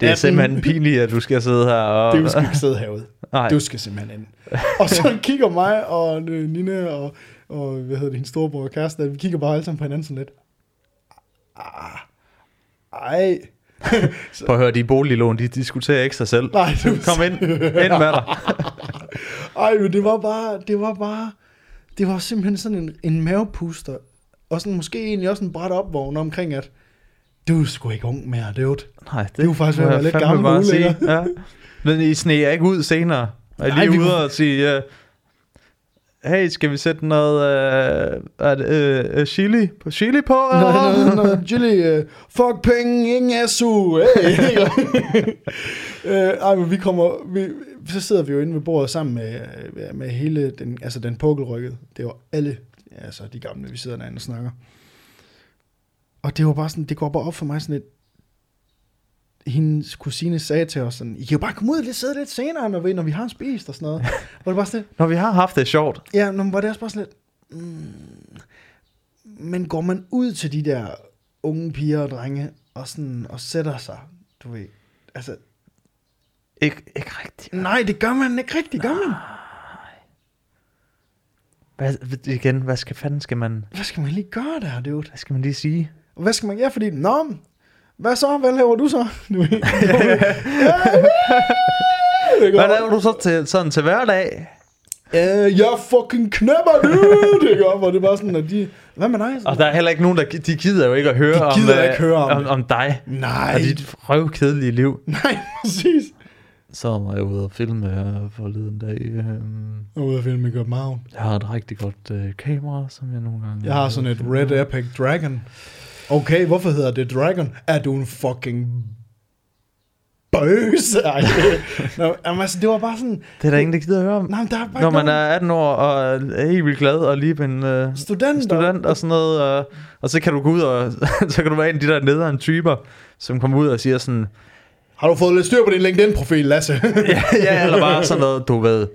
S2: Det er
S1: 18.
S2: simpelthen pinligt, at du skal sidde her og...
S1: Det du skal ikke sidde herude.
S2: Nej.
S1: Du skal simpelthen ind. Og
S2: [LAUGHS]
S1: så kigger mig og øh, Nina og, og hvad hedder det, hendes storebror og kæresten, at vi kigger bare alle sammen på hinanden sådan lidt. Ah, ej.
S2: Prøv at høre, de boliglån, de diskuterer ikke sig selv.
S1: Nej, du...
S2: Kom ind, ind med dig.
S1: Ej, men det var bare, det var bare, det var simpelthen sådan en, en mavepuster. Og sådan måske egentlig også en bræt opvågn omkring, at du er sgu ikke ung mere, det er
S2: Nej, det
S1: er jo faktisk ved at
S2: må
S1: være
S2: jeg
S1: lidt
S2: fandme
S1: gammel
S2: bare
S1: ulækker.
S2: sige. Ja. Men I sneer ikke ud senere.
S1: Nej,
S2: Og lige
S1: vi
S2: ude
S1: kunne-
S2: og sige, uh, hey, skal vi sætte noget uh, er det, øh, øh, chili, på, chili på? Eller? hvad?"
S1: [LAUGHS] Noget, noget, Julie, uh, fuck penge, ingen SU. Hey. øh, ej, men vi kommer, vi, så sidder vi jo inde ved bordet sammen med, øh, med hele den, altså den pukkelrykket. Det var alle, altså de gamle, vi sidder derinde og snakker. Og det var bare sådan, det går bare op for mig sådan lidt, hendes kusine sagde til os sådan, I kan jo bare komme ud og lidt, sidde lidt senere, når vi, når vi har spist og sådan noget. Hvor det bare sådan lidt,
S2: Når vi har haft det sjovt.
S1: Ja, nå, men var det også bare sådan lidt... Mm, men går man ud til de der unge piger og drenge og, sådan, og sætter sig, du ved... Altså,
S2: Ikke, ikke rigtigt.
S1: nej, det gør man ikke rigtigt, gør man?
S2: Hvad, igen, hvad skal fanden skal man,
S1: Hvad skal man lige gøre der, dude?
S2: hvad skal man lige sige?
S1: Og hvad skal man... Ja, fordi... Nå, men hvad så? Hvad laver du så? Du
S2: [LAUGHS]
S1: ved, du ved. Ja,
S2: Hvad laver du så til, sådan til hverdag?
S1: Øh, jeg fucking knæpper, dude! Det gør, hvor det er bare sådan, at de... Hvad med dig?
S2: Og der er heller ikke nogen, der gi- de gider jo ikke at høre,
S1: De gider
S2: om, øh,
S1: ikke høre om
S2: om,
S1: det.
S2: om dig
S1: Nej,
S2: og dit røvkedelige liv.
S1: nej, præcis.
S2: Så var jeg ude og filme her forleden dag. Øhm,
S1: Jeg er ude at filme i København.
S2: Jeg har et rigtig godt øh, kamera, som jeg nogle gange...
S1: Jeg har sådan et Red Epic Dragon. Okay, hvorfor hedder det Dragon? Er du en fucking bøs? Ej, det- Nå, jamen, altså, det var bare sådan...
S2: Det er der ingen, der gider at høre om.
S1: Nej, men der er bare
S2: Når
S1: ikke
S2: man
S1: nogen
S2: er 18 år og er helt vildt glad og lige en øh,
S1: studenter.
S2: student og sådan noget, øh, og så kan du gå ud og... [LAUGHS] så kan du være en af de der nederen typer, som kommer ud og siger sådan... [LAUGHS]
S1: Har du fået lidt styr på din LinkedIn-profil, Lasse?
S2: ja, ja, eller bare sådan noget, du ved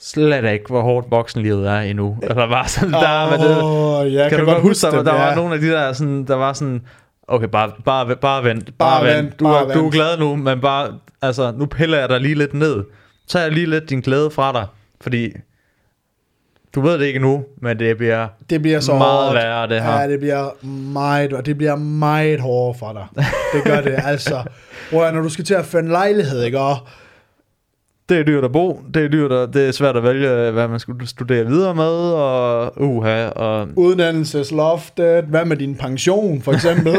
S2: slet ikke, hvor hårdt voksenlivet er endnu. Eller bare sådan, der med det.
S1: Åh, ja,
S2: Kan, kan du godt huske, der,
S1: dem,
S2: der
S1: ja.
S2: var nogle af de der, sådan, der var sådan, okay, bare, bare, bare vent, bare,
S1: Bare
S2: bare vent,
S1: vent,
S2: du,
S1: bare
S2: er, du er
S1: vent.
S2: glad nu, men bare, altså, nu piller jeg dig lige lidt ned. Tager jeg lige lidt din glæde fra dig, fordi du ved det ikke nu, men det bliver
S1: Det bliver så
S2: meget
S1: hårdt.
S2: værre, det her.
S1: Ja, det bliver meget, og det bliver meget hårdere for dig. Det gør det,
S2: [LAUGHS]
S1: altså. Prøv at høre, når du skal til at finde lejlighed, ikke? Og
S2: det er dyrt at bo, det er dyrt, og det er svært at vælge, hvad man skulle studere videre med, og uha, og
S1: uddannelsesloftet, hvad med din pension, for
S2: [LAUGHS]
S1: eksempel.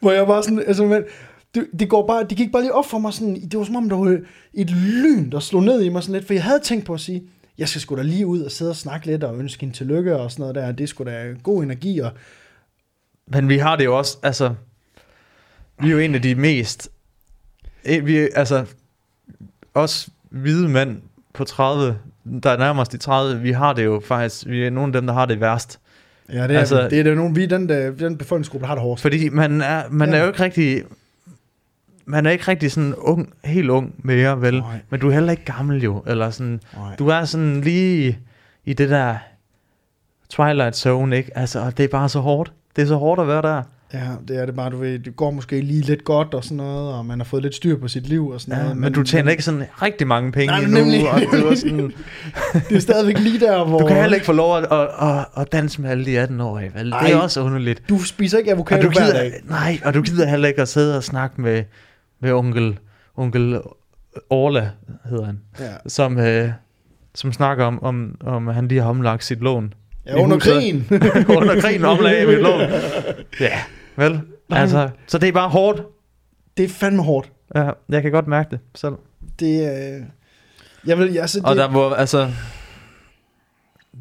S1: Hvor jeg var sådan, altså, men, det, det, går bare, det gik bare lige op for mig sådan, det var som om, der var et lyn, der slog ned i mig sådan lidt, for jeg havde tænkt på at sige, jeg skal sgu da lige ud og sidde og snakke lidt og ønske hende tillykke og sådan noget der, det skulle da god energi, og
S2: Men vi har det jo også, altså, vi er jo en af de mest, eh, vi er, altså, os hvide mænd på 30, der er nærmest de 30, vi har det jo faktisk, vi er nogle af dem, der har det værst.
S1: ja, det er,
S2: Altså-
S1: altså, det er det nogen, vi er den, der, den befolkningsgruppe, der har det hårdest.
S2: Fordi man er, man
S1: Ja.
S2: er jo ikke rigtig, man er ikke rigtig sådan ung, helt ung mere, vel?
S1: Nej.
S2: Men du er heller ikke gammel jo, eller sådan,
S1: Nej.
S2: du er sådan lige i det der Twilight Zone, ikke? Altså, og det er bare så hårdt. Det er så hårdt at være der.
S1: Ja, det er det bare, du ved, det går måske lige lidt godt og sådan noget, og man har fået lidt styr på sit liv og sådan
S2: Ja,
S1: noget.
S2: men, men du tjener ikke sådan rigtig mange penge
S1: Nej, men
S2: endnu,
S1: nemlig.
S2: og det var
S1: [LAUGHS]
S2: sådan,
S1: Det er stadigvæk lige der, hvor...
S2: [LAUGHS] du kan heller ikke få lov at, at, at, at danse med alle de 18-årige, vel? Det er
S1: Ej.
S2: også underligt.
S1: Du spiser ikke
S2: Og
S1: avocado
S2: du
S1: hver
S2: gider,
S1: dag.
S2: nej, og du gider heller ikke at sidde og snakke med, med onkel, onkel Orla, hedder han,
S1: Ja.
S2: som, øh, som snakker om, om, om at han lige har omlagt sit lån.
S1: Ja, under
S2: huset.
S1: krigen.
S2: Under krigen omlagde jeg mit lån. Ja, vel? Altså, så det er bare hårdt.
S1: [LAUGHS] det er fandme hårdt.
S2: Ja, jeg kan godt mærke det selv.
S1: Det, øh, jeg vil, altså, det,
S2: Og der må, altså...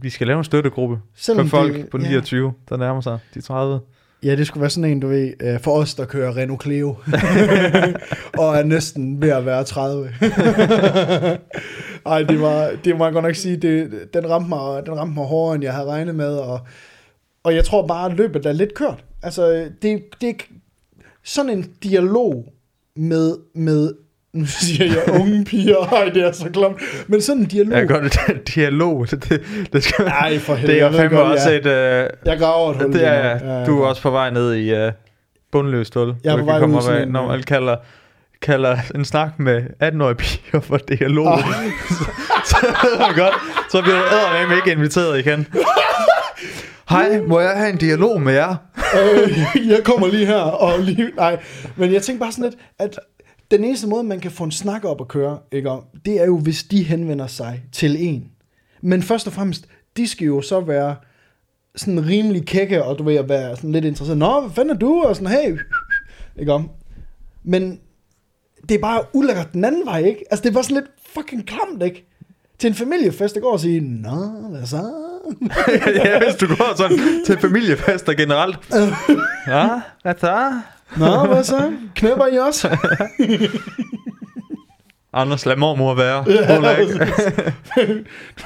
S2: Vi skal lave en støttegruppe
S1: Selvom
S2: for folk
S1: det-
S2: på
S1: ja.
S2: 29, der nærmer sig de 30.
S1: Ja, det skulle være sådan en, du ved, øh, for os, der kører Renault Cleo, [LAUGHS] og er næsten ved at være 30. [LAUGHS] Ej, det, var, det må jeg godt nok sige, det, den, ramte mig, den ramte mig hårdere, end jeg havde regnet med, og, og jeg tror bare, at løbet er lidt kørt. Altså, det, det sådan en dialog med, med nu siger jeg unge piger, ej, det er så klamt, men sådan en dialog,
S2: Jeg kan godt [LAUGHS] lide dialog. Det, det, det skal,
S1: Ej, for helvede,
S2: Det er
S1: jeg ved
S2: fandme
S1: godt,
S2: også
S1: ja.
S2: et... Øh,
S1: jeg graver et hul.
S2: det
S1: lige
S2: er,
S1: nu.
S2: ja, du er også på vej ned i øh, bundløst hul.
S1: Jeg er
S2: Du
S1: på
S2: kan
S1: vej
S2: komme
S1: ud
S2: op
S1: sådan
S2: af,
S1: en,
S2: Når
S1: øh,
S2: man kalder, kalder en snak med 18-årige piger for dialog.
S1: Ah.
S2: [LAUGHS] så ved man godt, så bliver du eddermame ikke inviteret
S1: [LAUGHS]
S2: igen. Hej, må jeg have en dialog med jer?
S1: øh, jeg kommer lige her og lige... Nej, men jeg tænker bare sådan lidt, at den eneste måde, man kan få en snak op at køre, ikke om, det er jo, hvis de henvender sig til en. Men først og fremmest, de skal jo så være sådan rimelig kække, og du ved at være sådan lidt interesseret. Nå, hvad fanden er du? Og sådan, hey, ikke om. Men det er bare ulækkert den anden vej, ikke? Altså, det var sådan lidt fucking klamt, ikke? Til en familiefest, der går og sige, nå, hvad så?
S2: [LAUGHS] ja, hvis du går sådan til familiefester [LAUGHS] generelt. Ja, hvad så?
S1: Nå, hvad så? Knæpper I også? [LAUGHS]
S2: Anders, lad mormor være.
S1: Ja,
S2: Hun er ikke.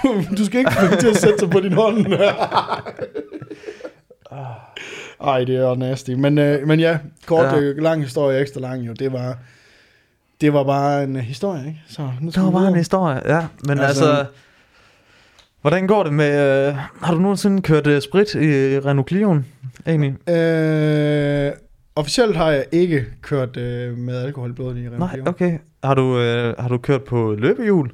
S1: du, du skal ikke få hende til at sætte sig på din hånd. [LAUGHS] Ej, det er jo nasty. Men, øh, men ja, kort
S2: Ja.
S1: ja. lang historie, ekstra lang jo. Det var, det var bare en øh, historie, ikke? Så nu
S2: Det
S1: skal
S2: var
S1: vi
S2: bare en
S1: videre.
S2: historie, ja. Men altså,
S1: Altså-
S2: altså hvordan går det med... Øh, har du nogensinde kørt øh, sprit i Renault Clio'en, egentlig?
S1: Øh, officielt har jeg ikke kørt øh, med alkohol i blodet i Rem
S2: Nej, okay. Har du, øh, har du kørt på løbehjul,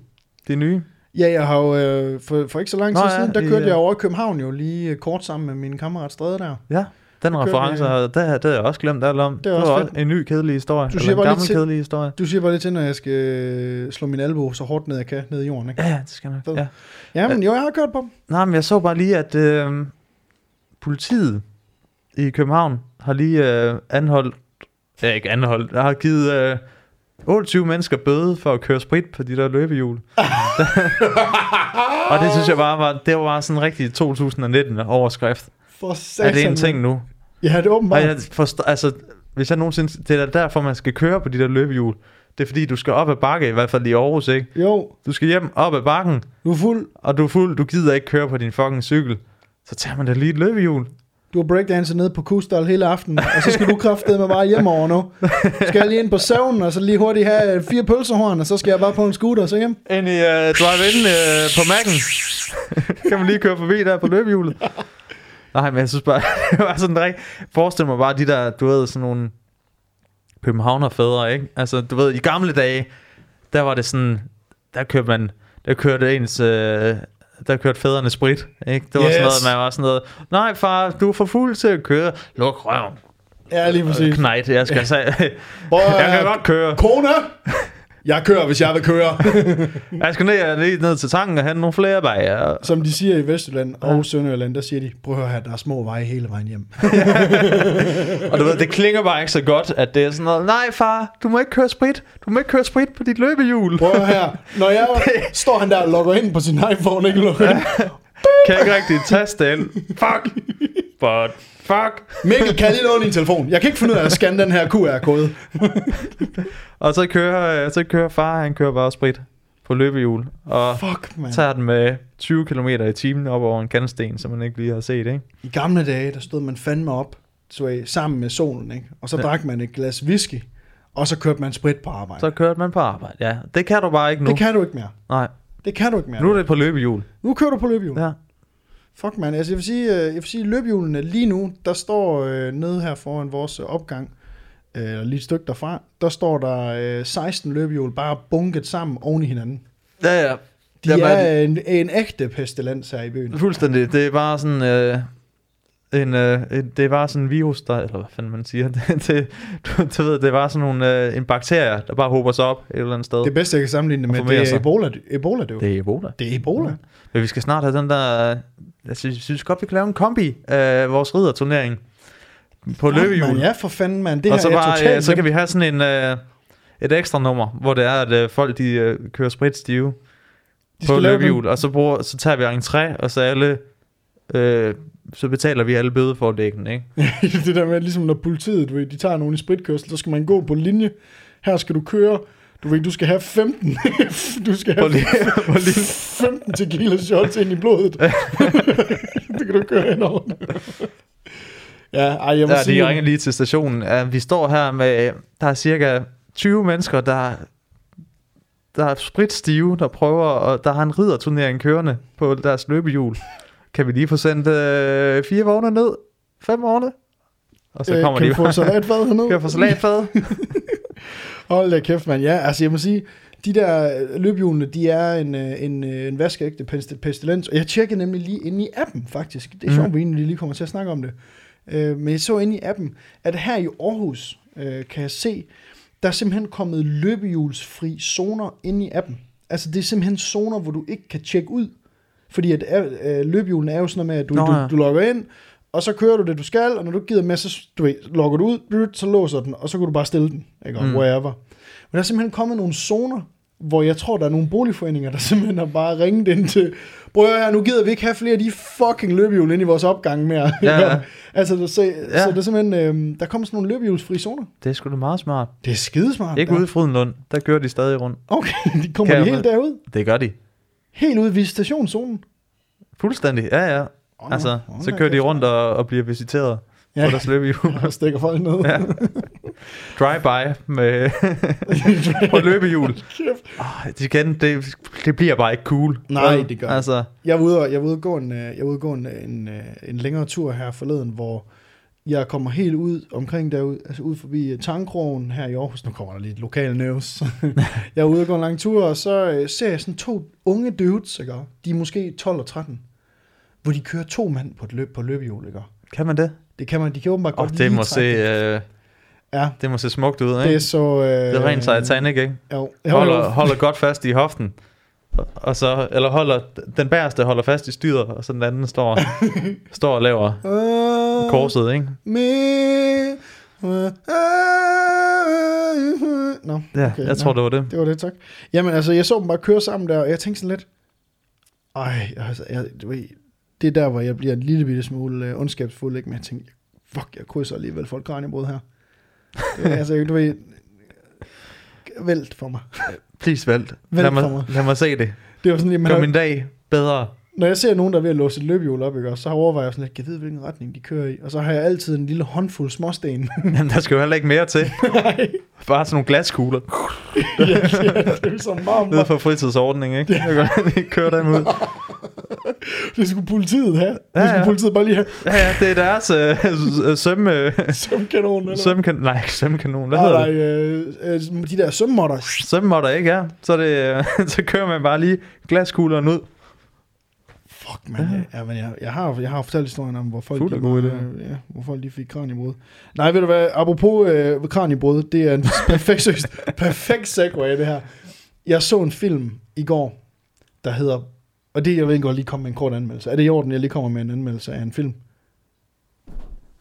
S2: det nye?
S1: Ja, jeg har jo øh, for, for ikke så lang
S2: Nå
S1: tid
S2: ja,
S1: siden, der
S2: i,
S1: kørte
S2: øh,
S1: jeg over i København jo lige øh, kort sammen med min kammerat Strede der.
S2: Ja, den
S1: kørte
S2: reference,
S1: vi-
S2: har- det, har- det har jeg også glemt alt om.
S1: er
S2: Det, var
S1: også
S2: også
S1: fedt.
S2: en ny kedelig historie. Du
S1: siger
S2: eller en
S1: bare lidt
S2: gammel
S1: til-
S2: kedelig historie.
S1: Du siger bare lidt til, når jeg skal øh, slå min albu så hårdt ned jeg kan, ned i jorden, ikke?
S2: Ja, ja, det skal nok.
S1: Fed.
S2: Ja.
S1: Jamen, jo, jeg har kørt på dem.
S2: Nej, men jeg så bare lige, at øh, politiet i København har lige øh, anholdt, ja ikke anholdt, har givet øh, 28 mennesker bøde for at køre sprit på de der løbehjul. [LAUGHS] og det synes jeg bare var, det var bare sådan rigtig 2019 overskrift.
S1: For
S2: Er
S1: satan.
S2: det en ting nu?
S1: Ja, det er
S2: Og
S1: åbenbart.
S2: jeg forstår, altså, hvis jeg nogensinde, det er da derfor, man skal køre på de der løbehjul. Det er fordi, du skal op ad bakke, i hvert fald i Aarhus, ikke?
S1: Jo,
S2: Du skal hjem op ad bakken,
S1: du er fuld.
S2: og du er fuld, du gider ikke køre på din fucking cykel, så tager man da lige et løbehjul.
S1: Du har breakdanset nede på Kustal hele aftenen, og så skal du kraftede med bare hjem over nu. Skal jeg lige ind på søvnen, og så lige hurtigt have øh, fire pølsehorn, og så skal jeg bare på en scooter og så hjem.
S2: Ind i uh, drive-in uh, på Mac'en. [LAUGHS] kan man lige køre forbi der på løbehjulet.
S1: [LAUGHS]
S2: Nej, men jeg synes bare, [LAUGHS] det var sådan rigtig... Forestil mig bare de der, du ved, sådan nogle københavnerfædre, ikke? Altså, du ved, i gamle dage, der var det sådan, der kørte man, der kørte ens, øh, der kørte fædrene sprit, ikke? Det var yes. sådan noget,
S1: Yes.
S2: man var sådan noget, nej far, du er for fuld til at køre, luk røven,
S1: Ja, lige præcis.
S2: knejt, jeg skal sige, [LAUGHS]
S1: Prøv at-
S2: Øh, jeg kan godt køre.
S1: Kone! Jeg kører, hvis jeg vil køre.
S2: Jeg skal ned, lige ned til tanken og have nogle flere bajer.
S1: [LAUGHS] Som de siger i Vestjylland og Sønderjylland, der siger de, prøv at høre, der er små veje hele vejen hjem.
S2: Og du ved, det klinger bare ikke så godt, at det er sådan noget, nej far, du må ikke køre sprit, du må ikke køre sprit på dit løbehjul.
S1: [LAUGHS] Prøv at høre, når jeg står han der og logger ind på sin iPhone, ikke lukker ind.
S2: Kan ikke rigtig taste det ind. Fuck. But fuck.
S1: Mikkel, kan jeg lige låne din telefon? Jeg kan ikke finde ud af at scanne den her QR-kode.
S2: Og så kører, øh, så kører far, han kører bare sprit på løbehjul. Og
S1: Fuck, man.
S2: tager den med 20 km i timen op over en kantsten, som man ikke lige har set, ikke?
S1: I gamle dage, der stod man fandme op så, øh, sammen med solen, ikke? og så
S2: Ja.
S1: ja. drak man et glas whisky, og så kørte man sprit på arbejde. Så
S2: Så kørte man på arbejde, ja. Det kan du bare ikke nu.
S1: det kan du ikke mere.
S2: Nej,
S1: Det kan du ikke mere.
S2: nu
S1: Nu,
S2: er det på løbehjul.
S1: nu kører du på løbehjul. Ja.
S2: Ja.
S1: Fuck man, altså, jeg vil sige, øh, jeg vil sige løbehjulene lige nu, der står øh, nede her foran vores øh, opgang, øh, eller lige et stykke derfra, der står der øh, 16 løbehjul bare bunket sammen oven i hinanden.
S2: Ja, ja.
S1: De Jamen, er en, en ægte pestilens her i byen.
S2: Fuldstændig. Det er bare sådan... Øh, en, øh, en, det er bare sådan en virus, der, eller hvad fanden man siger, [LAUGHS] det, det, du, du ved, det er bare sådan nogle, øh, en bakterie, der bare hober sig op et eller andet sted.
S1: Det
S2: Det,
S1: bedste, jeg kan sammenligne det
S2: Og
S1: med,
S2: formerer
S1: det er
S2: sig.
S1: Ebola, Ebola det, er jo.
S2: det er Ebola.
S1: det er Ebola.
S2: Men vi skal snart have den der, øh, jeg synes, synes godt, vi kan lave en kombi af vores ridderturnering på
S1: Fuck,
S2: løbehjul.
S1: man, Ja, for fanden, mand. Det
S2: og
S1: her
S2: så,
S1: er totalt
S2: bare, øh, så
S1: hjemme.
S2: kan vi have sådan en, øh, et ekstra nummer, hvor det er, at øh, folk de øh, kører spritstive
S1: De
S2: på
S1: skal lave
S2: løbehjul, og så, bruger, så tager vi entré, og så alle øh, så betaler vi alle bøde for dækken, ikke?
S1: [LAUGHS] det der med, ligesom når politiet, du ved, de tager nogen i spritkørsel, så skal man gå på linje. Her skal du køre, du ved, du skal have 15, [LAUGHS] du skal
S2: Hvor
S1: have
S2: lige, [LAUGHS] hvor lige,
S1: 15 tequila shots ind i
S2: [LAUGHS]
S1: blodet. det kan du køre hen over. ja, ej, jeg må
S2: ja,
S1: sige,
S2: de ringer lige til stationen. Ja, vi står her med, øh, der er cirka 20 mennesker, der der er spritstive, der prøver, og der har en ridderturnering kørende på deres løbehjul. Kan vi lige få sendt øh, fire vogne ned? Fem vogne? Og så
S1: øh,
S2: kommer
S1: kan
S2: de
S1: du få
S2: bare,
S1: salatfad hernede?
S2: kan vi få salatfad?
S1: Hold da kæft, mand. Ja, altså jeg må sige, de der øh, løbehjulene, de er en, øh, en, øh, en vaskeægte pest- pestilens. Og jeg tjekkede nemlig lige inde i appen, faktisk. Det er
S2: Mhm.
S1: sjovt, mm. vi egentlig lige kommer til at snakke om det. Øh, men jeg så inde i appen, at her i Aarhus, øh, kan jeg se, der er simpelthen kommet løbehjulsfri zoner inde i appen. Altså det er simpelthen zoner, hvor du ikke kan tjekke ud. Fordi at øh, løbehjulene er jo sådan noget med, at du,
S2: Nå,
S1: du,
S2: ja.
S1: du logger ind, og så kører du det, du skal, og når du ikke gider med, så du ved, logger du ud, blyt, så låser den, og så kan du bare stille den, ikke? Og
S2: Mm.
S1: wherever. Men der er simpelthen kommet nogle zoner, hvor jeg tror, der er nogle boligforeninger, der [LAUGHS] simpelthen har bare ringet ind til, prøv at høre her, nu gider vi ikke have flere af de fucking løbehjul ind i vores opgang mere.
S2: Ja, ja.
S1: [LAUGHS] altså, der- så, ja.
S2: Ja.
S1: så der er simpelthen, øh, der kommer sådan nogle løbehjulsfri zoner.
S2: Det er sgu da meget smart.
S1: Det er skidesmart.
S2: Ikke
S1: ja.
S2: ude i Frydenlund, der kører de stadig rundt.
S1: Okay, de kommer
S2: Kan
S1: de
S2: jeg
S1: helt derud.
S2: Det gør de.
S1: Helt ude ved
S2: [LAUGHS]
S1: stationszonen.
S2: Fuldstændig, ja ja.
S1: Åh,
S2: Altså,
S1: åh,
S2: så
S1: da
S2: kører de
S1: kæft.
S2: rundt og, og bliver visiteret ja.
S1: Ja.
S2: på deres
S1: [LAUGHS]
S2: løbehjul.
S1: og stikker folk ned.
S2: Ja. Drive-by
S1: [LAUGHS]
S2: med på løbehjul. Oh, de kan, det, det bliver bare ikke cool.
S1: Nej,
S2: Vel?
S1: det gør det.
S2: altså,
S1: Jeg var ude, og- jeg var ude at gå en, øh, jeg var ude at gå en, øh, en, øh, en længere tur her forleden, hvor jeg kommer helt ud omkring derud, altså ud forbi øh, Tangkrogen her i Aarhus. Nu kommer der lidt lokal news. [LAUGHS] jeg er ude og gå en lang tur, og så øh, ser jeg sådan to unge dudes, ikke? de er måske 12 og 13, hvor de kører to mand på et løb på løbehjul, ikke?
S2: kan man det?
S1: Det kan man, de kan åbenbart
S2: Oh,
S1: godt
S2: det,
S1: lide
S2: må se,
S1: takling.
S2: øh,
S1: Ja,
S2: det må se smukt ud, ikke?
S1: det er så... Øh,
S2: Det er rent Titanic, ikke?
S1: Jo, jo,
S2: Holder,
S1: jo.
S2: holder
S1: [LAUGHS]
S2: godt fast i hoften. Og så, eller holder, den bæreste holder fast i styret, og så den anden
S1: [LAUGHS]
S2: står, står og laver
S1: Øh,
S2: korset, ikke?
S1: Me. Nå,
S2: Ja,
S1: Okay,
S2: okay, jeg tror,
S1: nå.
S2: det var det.
S1: det var det, tak. Jamen altså, jeg så dem bare køre sammen der, og jeg tænkte sådan lidt, ej, altså, jeg, du ved, det er der, hvor jeg bliver en lille bitte smule øh, ondskabsfuld, ikke? men jeg tænkte, fuck, jeg krydser alligevel folk Kranjebrød her. Det,
S2: [LAUGHS]
S1: er altså, du ved, vælt for mig. [LAUGHS]
S2: Please vælt. Lad
S1: Vælt
S2: mig,
S1: for mig.
S2: lad mig se det.
S1: Det var sådan, lige, man
S2: Gør
S1: har-
S2: min dag
S1: [LAUGHS]
S2: bedre.
S1: når jeg ser nogen, der er ved at låse et løbehjul op, ikke? også, så overvejer jeg sådan lidt, kan jeg vide, hvilken retning de kører i? Og så har jeg altid en lille håndfuld småsten. [LAUGHS]
S2: Jamen, der skal jo heller ikke mere til.
S1: Nej.
S2: Bare sådan nogle glaskugler.
S1: ja, ja, det er jo så meget,
S2: Nede for fritidsordning, ikke? Jeg kan godt lige køre dem ud.
S1: Det skulle politiet have. Det
S2: Ja, ja.
S1: skulle politiet bare lige have [LAUGHS]
S2: Ja, ja, det er deres øh, søm... Øh,
S1: sømkanon. Eller?
S2: sømkan nej, ikke sømkanon. Hvad
S1: Nej,
S2: hedder
S1: nej,
S2: det?
S1: øh, øh, de der sømmotter.
S2: Sømmotter, ikke? Ja. Så, er det, øh, [LAUGHS] så kører man bare lige glaskuglerne ud.
S1: Fuck, man. Ja. ja men jeg, jeg, har, jeg har fortalt historien om, hvor folk,
S2: Fuld
S1: de,
S2: af gode
S1: var- ja, hvor folk de fik kranjebrud. Nej, ved du hvad? Apropos øh, kranjebrud, det er en [LAUGHS] perfekt, seriøst, perfekt segue det her. Jeg så en film i går, der hedder... Og det, jeg vil ikke godt lige komme med en kort anmeldelse. Er det i orden, jeg lige kommer med en anmeldelse af en film?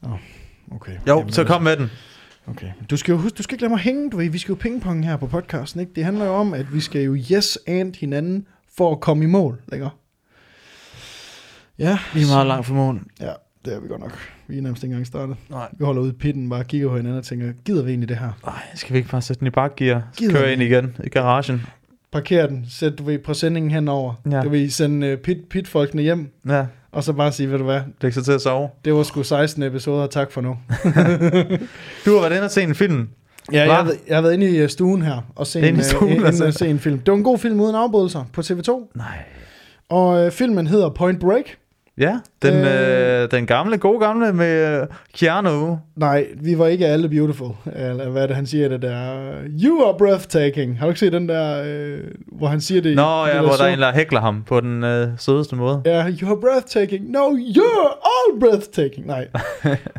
S1: Oh, okay.
S2: Jo,
S1: Jamen,
S2: så kom med den.
S1: Okay. Du skal jo huske, du skal ikke lade mig hænge, du ved. Vi skal jo pingpong her på podcasten, ikke? Det handler jo om, at vi skal jo yes and hinanden for at komme i mål, ikke? Ja,
S2: Vi er meget langt fra morgen.
S1: ja, det er vi godt nok. Vi er nærmest ikke engang startet.
S2: Nej.
S1: Vi holder ude i pitten, bare kigger på hinanden og tænker, gider vi egentlig det her?
S2: Ej, skal vi ikke bare sætte den i bakgear? Så
S1: Gider
S2: kører jeg
S1: vi?
S2: ind igen i garagen.
S1: Parker den, sæt, du ved, præsendingen henover. Ja.
S2: Ja.
S1: Du ved, sende uh, pit, pitfolkene hjem,
S2: Ja,
S1: og så bare sige, ved du hvad,
S2: læg så til at sove.
S1: det var sgu 16 episoder, tak for nu.
S2: Du har været inde og se en film.
S1: Ja, jeg,
S2: Hva?
S1: har været- jeg har været inde i øh, stuen her og se en,
S2: Inde i stuen,
S1: stuen, altså.
S2: altså.
S1: se en film. Det var en god film uden afbrydelser på TV2.
S2: Nej.
S1: Og øh, filmen hedder Point Break.
S2: Ja, den,
S1: Øh.
S2: øh... den gamle, gode gamle med øh, Keanu.
S1: Nej, vi var ikke alle beautiful. Eller hvad er det, han siger det der? You are breathtaking. Har du ikke set den der, øh, hvor han siger det?
S2: Nå
S1: det
S2: ja, hvor der er
S1: show?
S2: en, der hækler ham på den øh, sødeste måde.
S1: Ja, you are breathtaking. No, you're all breathtaking. Nej.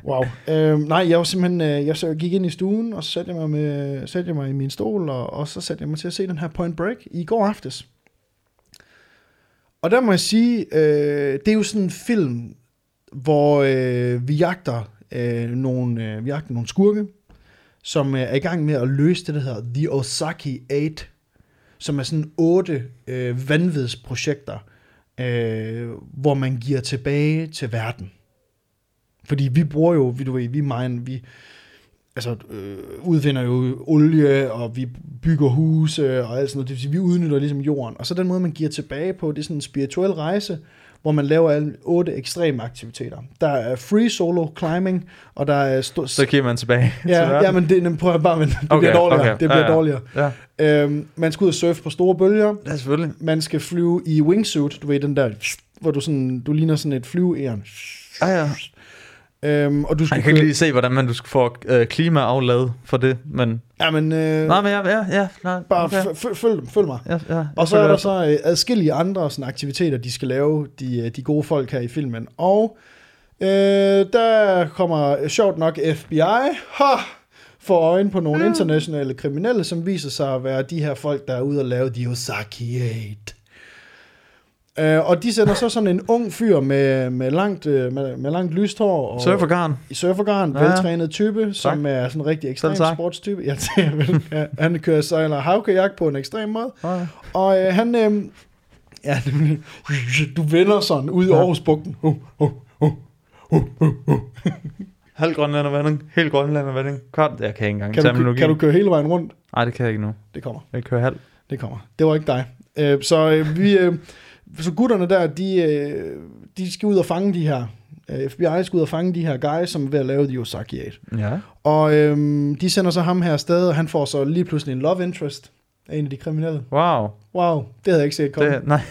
S1: Wow. øhm, nej, jeg var simpelthen, øh, jeg så gik ind i stuen, og så satte jeg mig, med, satte jeg mig i min stol, og, og så satte jeg mig til at se den her Point Break i går aftes. Og der må jeg sige, øh, det er jo sådan en film, hvor øh, vi jagter øh, nogle, øh, vi jagter nogle skurke, som øh, er i gang med at løse det, der hedder The Osaki 8, som er sådan otte øh, vanvidsprojekter, øh, hvor man giver tilbage til verden. Fordi vi bruger jo, vi- du ved, vi mine, vi altså, øh, udvinder jo olie, og vi bygger huse og alt sådan noget. Det vil sige, vi udnytter ligesom jorden. Og så den måde, man giver tilbage på, det er sådan en spirituel rejse, hvor man laver alle otte ekstreme aktiviteter. Der er free solo climbing, og der er... St-
S2: Så giver man tilbage til
S1: ja,
S2: verden.
S1: ja, men det, men prøv at høre, bare, men det okay, bliver dårligere. Okay. Det bliver
S2: ja, ja.
S1: dårligere.
S2: Ja,
S1: Øhm, man skal ud og surfe på store bølger.
S2: ja selvfølgelig.
S1: Man skal flyve i wingsuit, du ved den der, hvor du, sådan, du ligner sådan et flyveæren.
S2: Ja, ja.
S1: Øhm, og du skal
S2: Jeg kan ikke lige se, hvordan man du skal få øh, klimaaflad for det, men...
S1: Ja, men øh,
S2: Nej, men ja, ja, ja nej,
S1: bare
S2: okay.
S1: f- f- følg, følg mig.
S2: ja, ja,
S1: Og så er der så øh, adskillige andre sådan, aktiviteter, de skal lave, de, øh, de gode folk her i filmen. Og øh, der kommer øh, sjovt nok FBI ha, for øjen på nogle internationale kriminelle, som viser sig at være de her folk, der er ude og lave de Osaki 8. Øh, og de sender så sådan en ung fyr med, med, langt, øh, med, med langt lyst hår og
S2: Surfergarn.
S1: i surfergarn,
S2: Ja, ja.
S1: veltrænet type, som er sådan en rigtig ekstrem
S2: tak.
S1: sportstype. Ja, det er vel- ja, han kører sejler havkajak på en ekstrem måde.
S2: Ja.
S1: Og øh, han, øh, ja, nemlig, du vender sådan ud i
S2: Ja.
S1: Aarhusbugten. Uh, uh, uh.
S2: Halv grønlandervanding, helt grønlandervanding. Kvart, jeg kan ikke engang
S1: Kan, du, kø-
S2: terminologi.
S1: kan du køre hele vejen rundt?
S2: Nej, det kan jeg ikke nu.
S1: Det kommer,
S2: Jeg kører halv.
S1: det kommer. Det var ikke dig. Øh, så øh, vi, øh, så gutterne der, de, øh, de skal ud og fange de her, øh, FBI skal ud og fange de her guys, som er ved at lave de Osaki 8.
S2: Ja.
S1: Og øhm, de sender så ham her afsted, og han får så lige pludselig en love interest af en af de kriminelle.
S2: Wow.
S1: Wow, det havde jeg ikke set komme.
S2: Det, nej.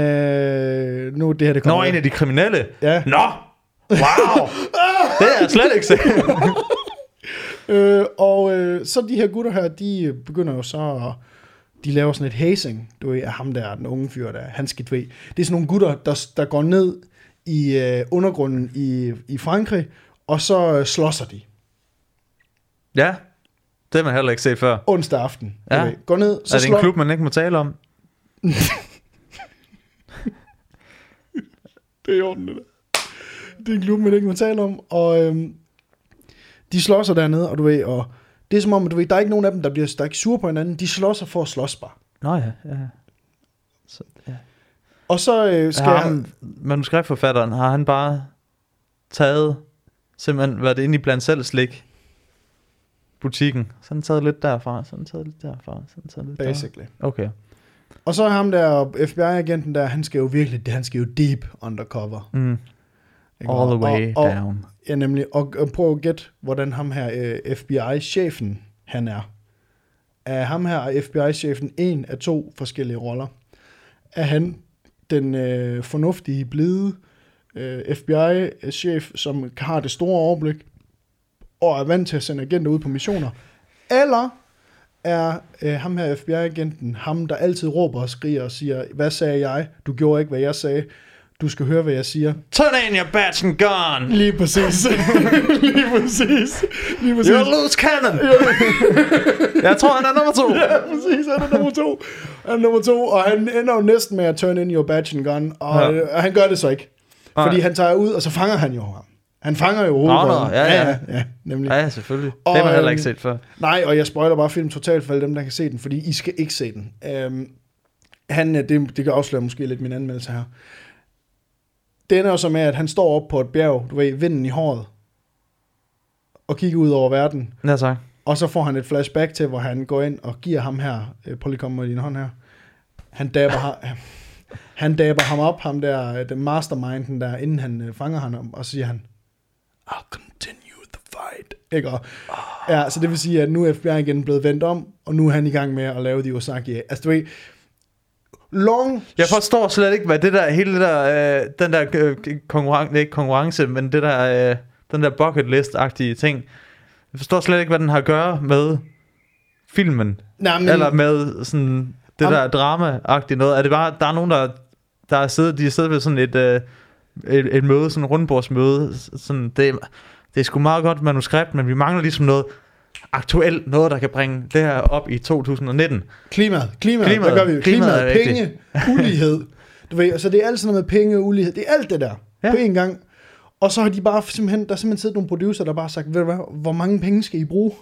S1: Øh, nu er det her, det kommer.
S2: Nå, en af de kriminelle.
S1: Ja.
S2: Nå!
S1: [LAUGHS]
S2: Wow! det er jeg slet ikke set.
S1: Øh, og øh, så de her gutter her, de øh, begynder jo så at, de laver sådan et hazing, du ved, af ham der, den unge fyr der, han skal du ved. Det er sådan nogle gutter, der, der går ned i øh, undergrunden i, i Frankrig, og så øh, slåsser de
S2: ja, det har man heller ikke set før.
S1: onsdag aften. du
S2: Ja.
S1: ved. Går ned,
S2: Så
S1: så
S2: er det en
S1: slår...
S2: klub, man ikke må tale om?
S1: Det er i orden, det der. Det er en klub, man ikke må tale om, og øhm, de slåsser dernede, og du ved, og det er som om, at du ved, der er ikke nogen af dem, der bliver der er ikke sure på hinanden, de slåsser for at slås bare.
S2: Nå ja, ja. Så, ja.
S1: Og så øh, skal...
S2: Skal har ham, manuskriptforfatteren, har han bare taget, simpelthen været inde i blandt selv slik butikken. Sådan taget lidt derfra, sådan taget lidt derfra, sådan taget lidt
S1: Basically.
S2: derfra. Okay.
S1: Og så er ham der, FBI-agenten der, han skal jo virkelig, han skal jo deep undercover.
S2: Mm.
S1: Ikke?
S2: All the
S1: Og-
S2: way
S1: og, og,
S2: down.
S1: Ja, nemlig. Og, og prøv at gætte, hvordan ham her øh, FBI-chefen, han er. Er ham her FBI-chefen en af to forskellige roller? Er han den øh, fornuftige, blide øh, FBI-chef, som har det store overblik, og er vant til at sende agenter ud på missioner? Eller er øh, ham her FBI-agenten, ham der altid råber og skriger og siger, hvad sagde jeg? Du gjorde ikke, hvad jeg sagde. Du skal høre, hvad jeg siger.
S2: Turn in your bats and gun!
S1: [LAUGHS] Lige præcis. lige præcis. Lige præcis.
S2: You'll lose cannon! [LAUGHS] jeg tror, han er nummer to.
S1: Ja, præcis. Han er nummer to. Han er nummer to, og han ender jo næsten med at turn in your badge and gun, og,
S2: Ja.
S1: ja. og han gør det så ikke.
S2: Nej.
S1: Fordi han tager ud, og så fanger han jo ham. Han fanger jo
S2: nå,
S1: hovedrollen.
S2: ja, ja.
S1: ja, ja, nemlig.
S2: Ja,
S1: Ja.
S2: ja, selvfølgelig. Det har man
S1: Og,
S2: heller ikke
S1: øhm,
S2: set før.
S1: Nej, og jeg spoiler bare filmen totalt for alle dem, der kan se den, fordi I skal ikke se den. Øhm, han, øh, det, det kan afsløre måske lidt min anmeldelse her. Det ender jo så med, at han står op på et bjerg, du ved, vinden i håret, og kigger ud over verden,
S2: Ja, tak.
S1: Og så får han et flashback til, hvor han går ind og giver ham her, øh, prøv lige at komme med din hånd her, han daber, ham, [LAUGHS] han daber ham op, ham der, øh, den masterminden der, inden han øh, fanger ham, og så siger han, I'll continue the fight. Ikke? Og, ja, så det vil sige, at nu er FBI igen blevet vendt om, og nu er han i gang med at lave de Osaki. Altså du ved, long
S2: Jeg forstår slet ikke, hvad det der, hele det der, øh, den der øh, konkurrence, ikke konkurrence, men det der, øh, den der bucket list-agtige ting. Jeg forstår slet ikke, hvad den har at gøre med filmen,
S1: nej, men,
S2: mm. eller med sådan det
S1: Am-
S2: der drama-agtige noget. Er det bare, der er nogen, der, der er siddet, de er siddet ved sådan et, øh, et, et møde, sådan et rundbordsmøde, s- sådan, det, det er sgu meget godt manuskript, men vi mangler ligesom noget aktuelt, noget, der kan bringe det her op i 2019.
S1: Klimaet, klimaet, klimaet,
S2: Klimaet.
S1: hvad gør vi? Klimaet,
S2: Klimaet er
S1: klimaet penge, ulighed. Du ved, så det er alt sådan noget med penge, ulighed, det er alt det der
S2: Ja.
S1: ja. på én gang. Og så har de bare simpelthen, der har simpelthen siddet nogle producer, der bare har sagt, ved du hvad, hvor mange penge skal I bruge?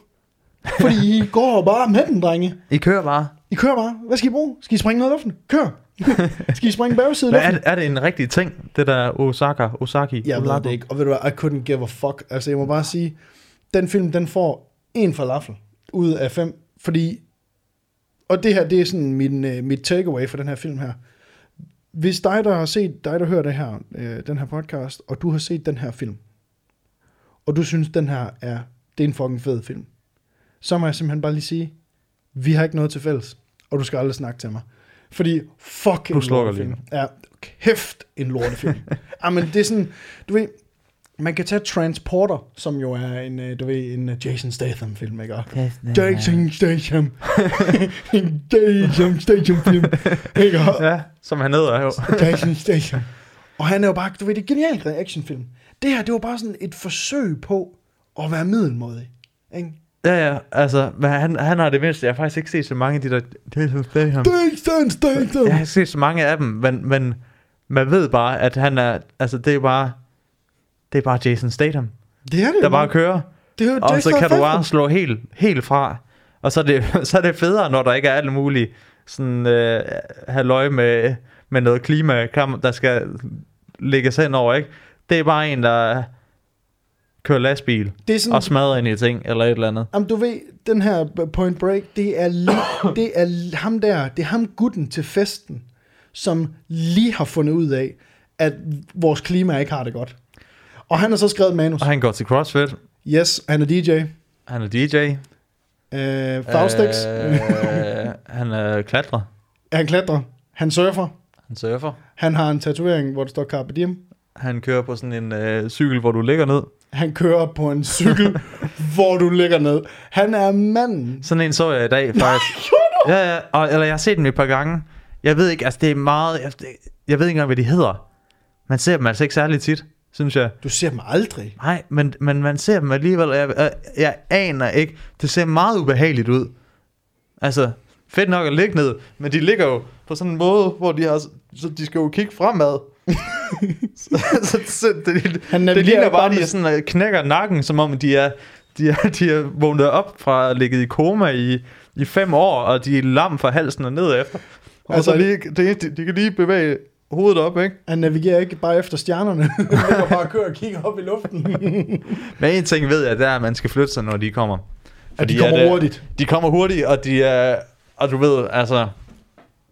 S1: Fordi I går bare med den, drenge.
S2: I kører bare. [LAUGHS]
S1: I kører bare. Hvad skal I bruge? Skal I springe noget i luften? Kør! Skal I springe bagside i
S2: Hvad, er,
S1: luften?
S2: det- er det en rigtig ting, det der Osaka, Osaki?
S1: Jeg ved
S2: Olaku?
S1: det ikke. Og ved du hvad, I couldn't give a fuck. Altså, jeg må bare sige, den film, den får en falafel ud af fem, fordi... Og det her, det er sådan min, øh, mit takeaway for den her film her. Hvis dig, der har set, dig, der hører det her, øh, den her podcast, og du har set den her film, og du synes, den her er, det er en fucking fed film, så må jeg simpelthen bare lige sige, vi har ikke noget til fælles, og du skal aldrig snakke til mig. Fordi fuck en
S2: Du slukker
S1: lortefilm.
S2: lige
S1: Ja, kæft en
S2: [LAUGHS]
S1: lortefilm. Jamen, det er sådan, du ved, man kan tage Transporter, som jo er en, øh, du ved, en øh, Jason Statham-film, ikke? Og Jason Statham. [LAUGHS] en Jason Statham-film, ikke? Og-
S2: [LAUGHS] Ja, som han hedder jo.
S1: Jason Statham. Og han er jo bare, du ved, det er genialt reactionfilm. Det her, det var bare sådan et forsøg på at være middelmådig. Ikke?
S2: Ja, ja, altså, men han, han har det mindste. Jeg har faktisk ikke set så mange af de der... Jason Statham.
S1: Jason Statham!
S2: Jeg har ikke set så mange af dem, men, men man ved bare, at han er... Altså, det er bare... Det er bare Jason Statham,
S1: Det er det
S2: der
S1: jo.
S2: bare kører.
S1: det er jo
S2: Og så kan du
S1: Statham.
S2: bare slå helt, helt fra. Og så er, det, [LAUGHS] så er det federe, når der ikke er alt muligt sådan øh, halløj med, med noget klima, der skal lægges hen over, ikke? Det er bare en, der kører lastbil
S1: Det er sådan,
S2: og smadrer ind i ting, eller et eller andet.
S1: Jamen, du ved, den her b- Point Break, det er,
S2: [COUGHS]
S1: lige, det er li- ham der, det er ham gutten til festen, som lige har fundet ud af, at vores klima ikke har det godt. Og han har så skrevet et manus.
S2: Og han går til CrossFit,
S1: Yes, han er DJ.
S2: han er DJ,
S1: Øh, Faustix.
S2: Øh, han er klatrer.
S1: han klatrer. Han surfer.
S2: Han surfer.
S1: Han har en tatovering, hvor der står Carpe Diem.
S2: Han kører på sådan en øh, cykel, hvor du ligger ned.
S1: Han kører på en [LAUGHS] cykel, hvor du ligger ned. Han er manden.
S2: Sådan en så jeg i dag, faktisk. ja, ja. Og, eller jeg har set dem et par gange. Jeg ved ikke, altså det er meget... Jeg, det- jeg ved ikke engang, hvad de hedder. Man ser dem altså ikke særlig tit, synes jeg.
S1: Du ser dem aldrig.
S2: Nej, men, men man ser dem alligevel, og jeg, jeg, jeg aner ikke. Det ser meget ubehageligt ud. Altså, fedt nok at ligge ned, men de ligger jo på sådan en måde, hvor de har... Så de skal jo kigge
S1: [LAUGHS]
S2: fremad. så, så, så, det,
S1: Han
S2: det
S1: navigerer
S2: ligner
S1: bare
S2: bare, at
S1: med-
S2: de er sådan, øh, knækker nakken, som om de er, de er, de er vågnet op fra at ligge i koma i, i fem år, og de er lam fra halsen og ned efter.
S1: [LAUGHS]
S2: Og
S1: Altså-
S2: altså, så lige, de, de, de kan lige bevæge hovedet op, ikke?
S1: Han navigerer ikke bare efter stjernerne. [LAUGHS] Han ligger bare og kører og kigger op i luften. [LAUGHS]
S2: Men en ting ved jeg, det er, at man skal flytte sig, når de kommer.
S1: Og de
S2: Fordi
S1: kommer
S2: at, øh,
S1: hurtigt.
S2: De kommer hurtigt, og de er... Og du ved, altså...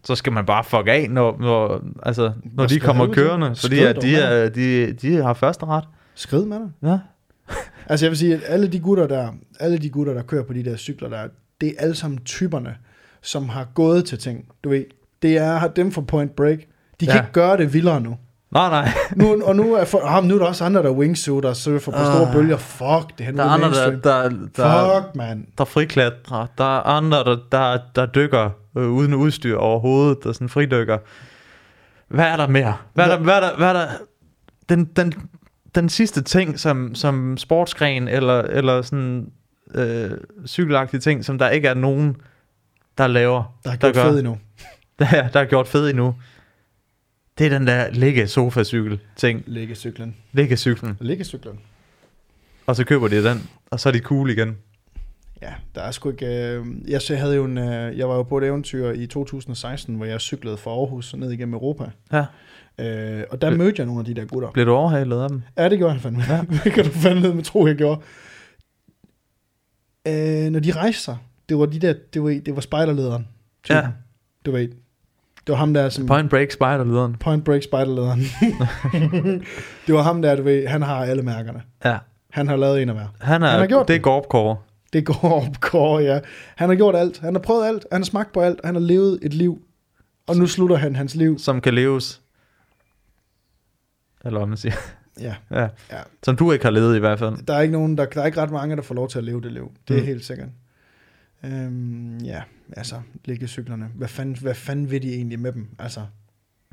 S2: Så skal man bare fuck af, når, når, altså, når de
S1: skal
S2: kommer
S1: helvede til?
S2: kørende. Fordi
S1: Skrid
S2: at
S1: dog,
S2: de, er, de, de har første ret.
S1: Skrid med dig.
S2: Ja.
S1: Altså jeg vil sige, at alle de gutter, der, alle de gutter, der kører på de der cykler, der, det er alle sammen typerne, som har gået til ting. Du ved, det er dem fra Point Break. De kan
S2: Ja.
S1: ja. ikke gøre det vildere nu.
S2: Nej, nej.
S1: nu og nu er, for, ah, men nu er der også andre, der er wingsuit og surfer på
S2: Ah.
S1: store bølger. Fuck, det er nu
S2: Der er andre, der,
S1: mainstream.
S2: der, der,
S1: Fuck, man.
S2: der friklatrer. Der er andre, der, der, der dykker øh, uden udstyr overhovedet. Der sådan fridykker. Hvad er der mere? Hvad er der... Hvad er der, hvad er der den, den, den sidste ting, som, som sportsgren eller, eller sådan øh, cykelagtige ting, som der ikke er nogen, der laver, [LAUGHS]
S1: Der er gjort
S2: gør.
S1: fed endnu.
S2: der, der er gjort fed endnu, det er den der ligge sofa cykel ting.
S1: Læggecyklen.
S2: Ligge cyklen.
S1: Læggecyklen.
S2: Og så køber de den, og så er de cool igen.
S1: Ja, der er sgu ikke... Øh, jeg, så havde jo en, øh, jeg var jo på et eventyr i 2016, hvor jeg cyklede fra Aarhus og ned igennem Europa.
S2: Ja.
S1: Øh, og der
S2: Det-
S1: mødte jeg nogle af de der gutter.
S2: Bliver du overhalet af dem?
S1: Ja, det gjorde han fandme. Ja. [LAUGHS] det kan du fandme med tro, jeg gjorde. Øh, når de rejste sig, det var de der, det var, det var spejderlederen. typen.
S2: Ja.
S1: Du ved, det var ham der, som point,
S2: Point Break Spider-lederen.
S1: point break spejderlederen. det var ham der, du ved, han har alle mærkerne.
S2: Ja.
S1: Han har lavet en af hver.
S2: Han, er,
S1: Han har gjort
S2: det er Gorpcore.
S1: Det går [LAUGHS] op, går, ja. Han har gjort alt. Han har prøvet alt. Han har smagt på alt. Han har levet et liv. Og nu slutter han hans liv.
S2: som kan leves. Eller hvad man siger.
S1: Ja.
S2: Ja.
S1: Ja.
S2: ja. Som du ikke har levet i hvert fald.
S1: Der er ikke nogen, der, der er ikke ret mange, der får lov til at leve det liv. Det er mm.
S2: Mm.
S1: helt sikkert. Øhm, ja, altså, liggecyklerne. Hvad fanden, hvad fanden vil de egentlig med dem? Altså,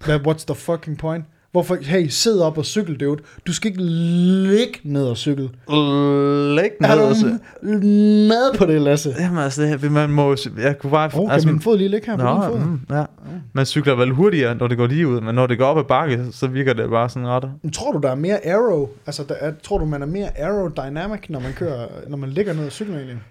S1: hvad, what's the fucking point? Hvorfor, hey, sid op og cykel, dude. Du skal ikke ligge ned og cykle.
S2: Læg
S1: Er
S2: ned
S1: du
S2: og se.
S1: med på det, Lasse?
S2: Jamen altså, det, man må jo- jeg kunne bare... altså,
S1: Åh, oh, kan min fod lige ligge her på
S2: nå,
S1: din fod?
S2: mm, ja. Man cykler vel hurtigere, når det går lige ud, men når det går op ad bakke, så virker det bare sådan ret.
S1: Men Tror du, der er mere aero? Altså, der er, tror du, man er mere aerodynamic, når man kører, når man ligger ned og cykler egentlig?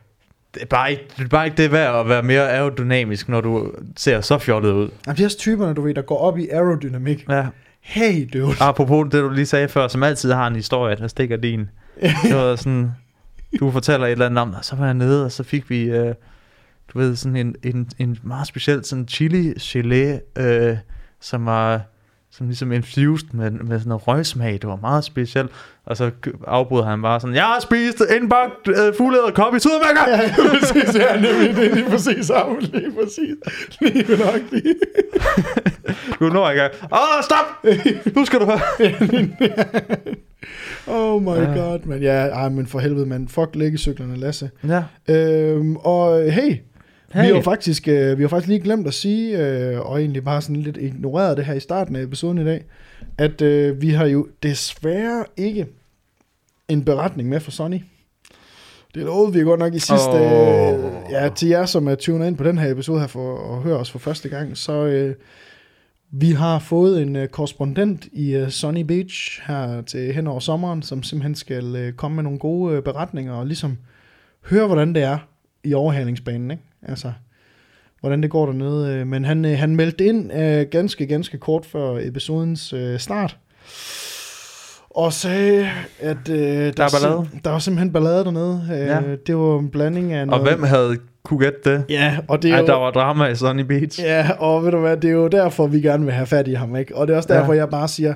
S2: det er bare ikke, det er bare ikke det værd at være mere aerodynamisk, når du ser så fjollet ud.
S1: Jamen, de er også typerne, du ved, der går op i aerodynamik.
S2: Ja.
S1: Hey, dude.
S2: Apropos det, du lige sagde før, som altid har en historie, der stikker
S1: [LAUGHS]
S2: din. Det var sådan, du fortæller et eller andet om, og så var jeg nede, og så fik vi, øh, du ved, sådan en, en, en meget speciel sådan chili gelé, øh, som var som ligesom infused med, med sådan noget røgsmag. Det var meget specielt. Og så g- afbrød han bare sådan, jeg har spist indbagt øh, fugleder kop i Sydamerika!
S1: Ja, præcis, ja, nemlig, [LAUGHS] det er lige præcis ham, lige præcis, lige nok lige.
S2: Du når ikke engang. Åh, stop! Nu skal du høre.
S1: Oh my
S2: Ja.
S1: ja. god, men ja, ej, men for helvede, man, fuck læggecyklerne, Lasse.
S2: Ja.
S1: Øhm, og hey, hey.
S2: Hey.
S1: Vi, har faktisk, øh, vi har faktisk lige glemt at sige, øh, og egentlig bare sådan lidt ignoreret det her i starten af episoden i dag, at øh, vi har jo desværre ikke en beretning med fra Sonny. Det lovede vi godt nok i sidste... Oh. Øh,
S2: Åh.
S1: ja, til jer, som er tunet ind på den her episode her for at høre os for første gang, så øh, vi har fået en øh, korrespondent i øh, Sunny Beach her til hen over sommeren, som simpelthen skal øh, komme med nogle gode øh, beretninger og ligesom høre, hvordan det er i overhalingsbanen, ikke? Altså, hvordan det går dernede. øh, Men han, øh, han meldte ind øh, ganske, ganske kort før episodens øh, start, og sagde, at øh, der,
S2: er ballade.
S1: sim- der var simpelthen ballade dernede. Øh,
S2: Ja.
S1: Det var en blanding af
S2: Og
S1: noget...
S2: hvem havde kunne gætte det?
S1: Ja, og det er
S2: Ej,
S1: jo...
S2: der var drama i Sunny Beach.
S1: Ja, og ved du hvad, det er jo derfor, vi gerne vil have fat i ham, ikke? Og det er også
S2: Ja.
S1: derfor, ja. jeg bare siger,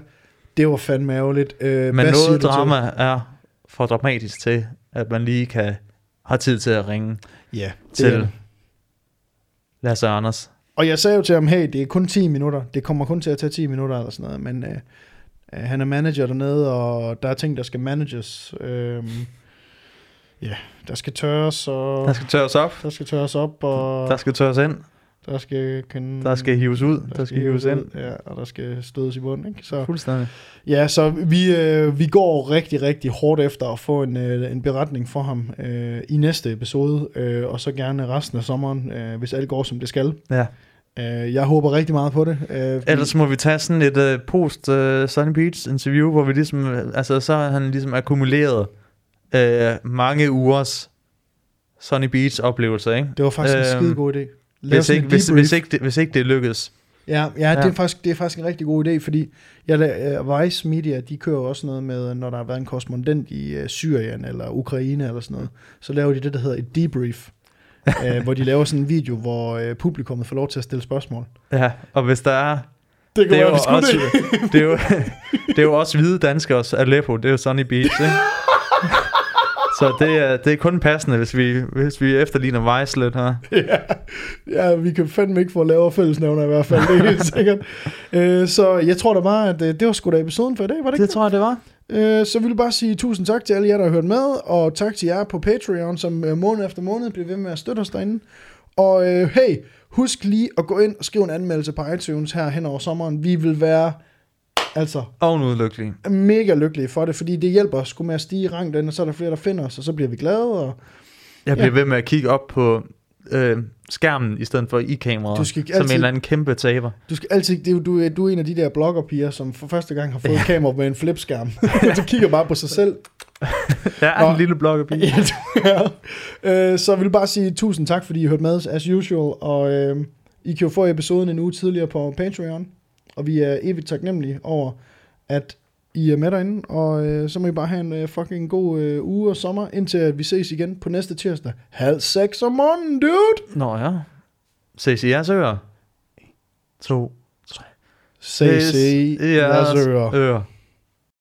S1: det var fandme ærgerligt. Øh,
S2: Men
S1: hvad siger du
S2: noget
S1: til
S2: drama er for dramatisk til, at man lige kan har tid til at ringe
S1: det? Ja, det er
S2: til
S1: det.
S2: Lasse og Anders.
S1: Og jeg sagde jo til ham, hey, det er kun 10 minutter. Det kommer kun til at tage 10 minutter eller sådan noget, men øh, øh, han er manager dernede, og der er ting, der skal manages. Øh, ja, der skal tørres, og
S2: Der skal tørres op,
S1: der skal tørres op, og
S2: der skal tørres ind,
S1: der skal, kan,
S2: der skal hives ud, der skal hives ind.
S1: Ja, og der skal stødes i bunden, ikke? Så,
S2: Fuldstændig.
S1: Ja, så vi, øh, vi går rigtig, rigtig hårdt efter at få en, øh, en beretning for ham øh, i næste episode, øh, og så gerne resten af sommeren, øh, hvis alt går, som det skal.
S2: Ja.
S1: Øh, jeg håber rigtig meget på det. Øh, fordi-
S2: Ellers må vi tage sådan et øh, post øh, Sunny Beach interview, hvor vi ligesom, øh, altså så har han ligesom akkumuleret øh, mange ugers Sunny Beach oplevelser, ikke?
S1: det var faktisk øh, en
S2: Øhm,
S1: skide god idé. Lave
S2: Hvis
S1: sådan
S2: ikke,
S1: en
S2: hvis,
S1: debrief.
S2: hvis, ikke det, hvis ikke det lykkes.
S1: Ja, ja, ja. Det,
S2: Ja.
S1: er faktisk, det er faktisk en rigtig god idé, fordi jeg, la- øh, Vice Media, de kører jo også noget med, når der har været en korrespondent i øh, Syrien eller Ukraine eller sådan noget, så laver de det, der hedder et
S2: [LAUGHS]
S1: debrief, øh, hvor de laver sådan en video, hvor øh, publikummet får lov til at stille spørgsmål.
S2: Ja, og hvis der er
S1: Det, [LAUGHS]
S2: det er, jo også, det, er jo, det er jo også hvide danskers Aleppo, det er jo Sunny Beach,
S1: [LAUGHS]
S2: ikke? Så det er, det er kun passende, hvis vi, hvis vi efterligner Vice lidt her.
S1: ja, ja, vi kan fandme ikke få lavere fællesnævner i hvert fald, det er helt sikkert. Øh, så jeg tror da bare, at øh, det var sgu da episoden for i dag, var det, ikke?
S2: tror jeg, det var.
S1: Øh, så vil jeg bare sige tusind tak til alle jer, der har hørt med, og tak til jer på Patreon, som øh, måned efter måned bliver ved med at støtte os derinde. Og øh, hey, husk lige at gå ind og skrive en anmeldelse på iTunes her hen over sommeren. Vi vil være altså
S2: Og en udlykkelig.
S1: mega lykkelige for det, fordi det hjælper os sgu med at stige i rang derinde, og så er der flere, der finder os, og så bliver vi glade, og
S2: Jeg bliver
S1: Ja.
S2: ved med at kigge op på øh, skærmen, i stedet for i kameraet,
S1: Du skal ikke
S2: som en
S1: altid-
S2: eller anden kæmpe taber.
S1: Du skal altid, det er, jo- du, er- du er en af de der bloggerpiger, som for første gang har fået ja. kamera med en flipskærm. [LAUGHS] du kigger bare på sig selv.
S2: Der er
S1: Nå.
S2: en lille blok af bil.
S1: Ja, du er. Øh, så vil jeg bare sige tusind tak, fordi I hørte med, as usual. Og øh, I kan jo få episoden en uge tidligere på Patreon. Og vi er evigt taknemmelige over, at I er med derinde. Og øh, så må I bare have en øh, fucking god øh, uge og sommer, indtil at vi ses igen på næste tirsdag. Halv seks om morgenen, dude!
S2: Nå ja. Ses i jeres ører. To.
S1: Ses i jeres ører.
S2: ører.